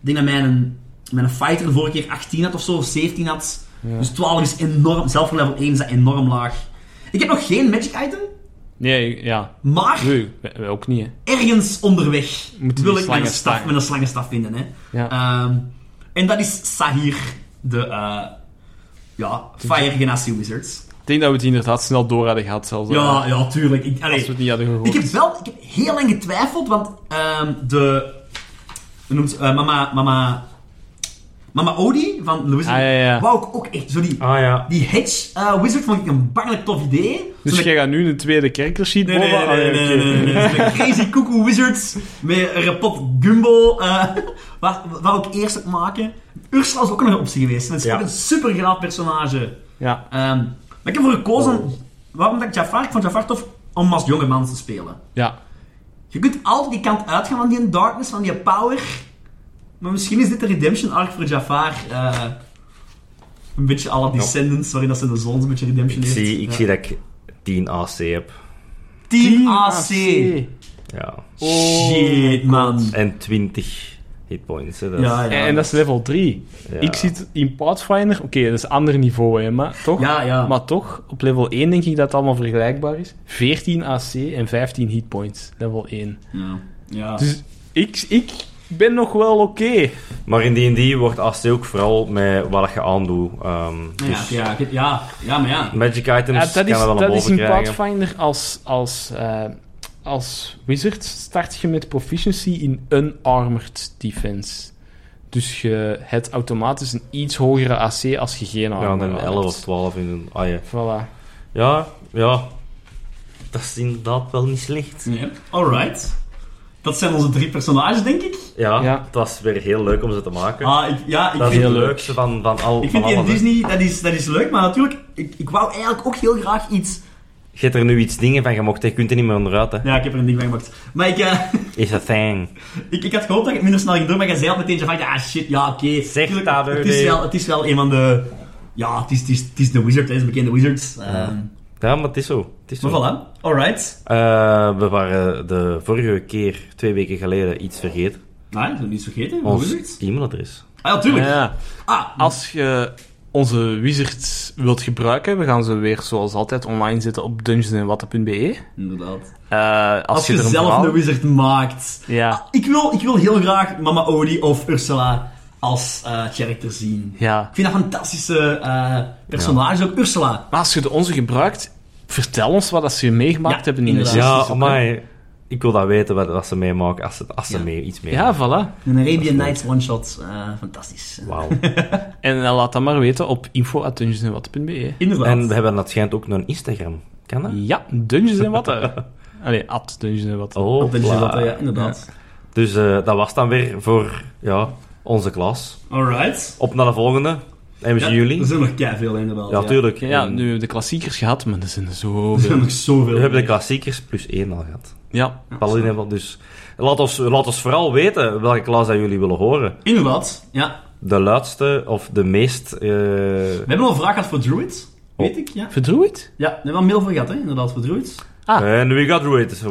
B: ik denk dat mijn, mijn fighter de vorige keer 18 had of zo, of 17 had. Dus 12 is enorm, zelf voor level 1 is dat enorm laag. Ik heb nog geen magic item,
C: Nee, ja.
B: maar
C: Nee, we- we ook niet, hè.
B: ergens onderweg
C: Moeten
B: wil
C: die
B: ik mijn
C: slangen
B: staf,
C: staan.
B: mijn slangenstaf vinden. Hè.
C: Ja.
B: Ehm, en dat is Sahir, de eh, ja, Fire Genasi Wizards.
C: Ik denk dat we het inderdaad snel door hadden gehad, zelfs. eh,
B: Ja, ja, tuurlijk. Ik, allee,
C: Als we het niet hadden gehoord.
B: ik heb wel ik heb heel lang getwijfeld, want ehm, de... hoe noemt ze- eh, mama... Mama... Mama Odie van Louis.
C: Ah, ja, ja.
B: Wou ik ook echt zo die...
A: Ah ja.
B: Die Hedge eh, Wizard vond ik een bangelijk tof idee.
C: Dus
B: Zo'n-
C: jij gaat nu een tweede kerker zien
B: Nee, nee,
C: boven?
B: nee, nee,
C: Ah, ja,
B: nee,
C: oké.
B: nee, nee, nee. Zo'n Crazy Cuckoo Wizards met een repot Gumbo. eh waar, waar ik eerst op maken. Ursula is ook nog een optie geweest. Dat is
A: Ja.
B: ook een super graaf personage.
C: Ja.
B: Ehm, maar ik heb ervoor gekozen... Waarom dat ik Jafar... Ik vond Jafar tof om als jonge man te spelen.
C: Ja.
B: Je kunt altijd die kant uitgaan van die darkness, van die power. Maar misschien is dit de redemption arc voor Jafar. eh, een beetje alle Descendants, waarin dat ze de zon een beetje redemption
A: Ik
B: heeft.
A: zie, ik
B: Ja.
A: zie dat ik 10 AC heb.
B: Team AC.
A: Ja.
C: Ah, Oh.
B: Ah, Shit, man.
A: En 20 hitpoints. Hè. Dat is-
B: Ja, ja.
C: En, en dat is level 3.
A: ja.
C: Ik zit in Pathfinder... Oké, dat is een ander niveau, hè, maar toch?
B: Ja, ja.
C: Maar toch, op level 1 denk ik dat het allemaal vergelijkbaar is. 14 AC en 15 hitpoints, level 1.
B: Ja. ja.
C: Dus ik, ik ben nog wel oké.
A: Maar in D&D wordt AC ook vooral met wat je aandoet. ehm,
B: Ja,
A: dus
B: ja, ja, ja, maar ja.
A: magic items
C: Ja, dat
A: kan
C: is,
A: er wel
C: dat is
A: boven
C: in
A: krijgen.
C: Pathfinder als, als, eh, als wizard start je met proficiency in unarmored defense. Dus je hebt automatisch een iets hogere AC als je geen
A: Ja,
C: armor
A: dan
C: hebt.
A: 11 of 12 in een... Ah, ja.
C: Voilà.
A: ja, ja. Dat is inderdaad wel niet slecht.
B: Nee. Alright. Dat zijn onze drie personages, denk ik.
A: Ja,
C: Ja.
A: dat is weer heel leuk om ze te maken.
B: Ah, ik, ja, ik
A: dat is
B: vind,
A: het
C: heel leuk.
A: leukste van, van al van
B: ik vind die in
A: alles, hè.
B: Disney, dat is, dat is leuk, maar natuurlijk, ik, ik wou eigenlijk ook heel graag iets...
A: Je hebt er nu iets dingen van gemaakt, hè. je kunt er niet meer onderuit. Hè.
B: Ja, ik heb er een ding van gemaakt. Maar ik... eh,
A: Is a thing.
B: Ik, ik had gehoopt dat ik het minder snel ging doen, maar jij zei al meteen van, ja shit, ja oké.
A: Zeg
B: Tuurlijk,
A: dat,
B: het,
A: hè,
B: is
A: nee.
B: wel, het is wel een van de... Ja, het is, het is, het is de wizard, hè, het is een bekende wizard. Ehm,
A: Ja, maar het is zo. Het is zo.
B: maar voilà, alright.
A: Eh, we waren de vorige keer, twee weken geleden, iets vergeten.
B: Nou, dat is niet vergeten, de
A: Ons
B: wizard.
A: e-mailadres.
B: Ah ja, tuurlijk.
C: Ja.
B: Ah,
C: Als je onze wizards wilt gebruiken, we gaan ze weer zoals altijd online zetten op dungeonsandwatten.be.
B: inderdaad.
C: E. Eh, als,
B: Als, je,
C: er een
B: zelf
C: verhaal-
B: een wizard maakt.
C: Ja,
B: Ik wil, ik wil heel graag Mama Odie of Ursula als eh, character zien.
C: ja.
B: Ik vind dat fantastische eh personage, ook Ursula.
C: Maar als je de onze gebruikt, vertel ons wat dat ze meegemaakt
B: Ja,
C: hebben in de
B: inderdaad.
C: sessies
A: Ja,
C: ook, hè.
A: maar ik wil dat weten wat, wat ze meemaken als ze, als ze
B: Ja.
A: mee, iets mee.
C: Ja, voilà.
B: Een Arabian Nights one-shot, eh, fantastisch.
A: Wauw.
C: En eh, laat dat maar weten op info.dungeonsandwatten.be.
B: Inderdaad.
A: en we hebben dat schijnt ook een Instagram. Kan dat?
C: E. Ja, Dungeons en Watten. Allee, at Dungeons en Watten.
A: Oh,
B: Op de
A: voilà.
B: Gelato, ja, inderdaad.
A: Dus eh, dat was dan weer voor ja, onze klas.
B: Alright.
A: Op naar de volgende. En we zien Dus jullie.
B: Er zijn nog keiveel inderdaad.
A: Ja, tuurlijk.
C: Ja, nu
A: En
C: hebben we de klassiekers gehad, maar er zijn er
B: Er zijn
C: zoveel.
B: nog zoveel.
A: We hebben de klassiekers plus één al gehad.
C: Ja,
A: Paladin hebben we- dus. Laat ons, laat ons vooral weten welke klas dat jullie willen horen.
B: Inderdaad, ja.
A: De luidste of de meest... eh,
B: We hebben al een vraag gehad voor Druid. Weet
A: Oh.
B: ik, ja.
C: verdroeid?
B: Ja, we hebben al een mail voor gehad, hè. Inderdaad, voor Druid.
C: Ah.
A: En we got it.
C: Zo.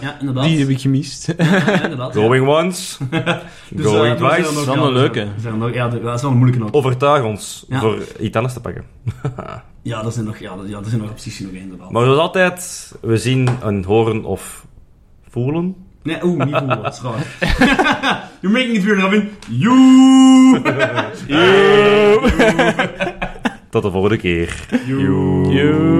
B: Ja, inderdaad.
C: Die heb ik gemist.
B: Ja, inderdaad. ja.
A: going once,
B: Dus, eh,
A: going
B: er zijn er
A: twice.
B: nog-
C: Wel
B: ja,
C: een
B: er zijn-
C: leuke.
B: er zijn er nog- Ja, er- dat is wel een moeilijke ook.
A: Overtuig ons
B: Ja.
A: voor iets anders te pakken.
B: Ja, er zijn nog, ja, er- ja, er zijn nog opties nog, inderdaad.
A: Maar zoals altijd, we zien en horen of voelen.
B: Nee, oeh, niet goed, dat is raar. You're making it weird, Robin. You!
A: Tot de volgende keer.
B: You.
C: Yo.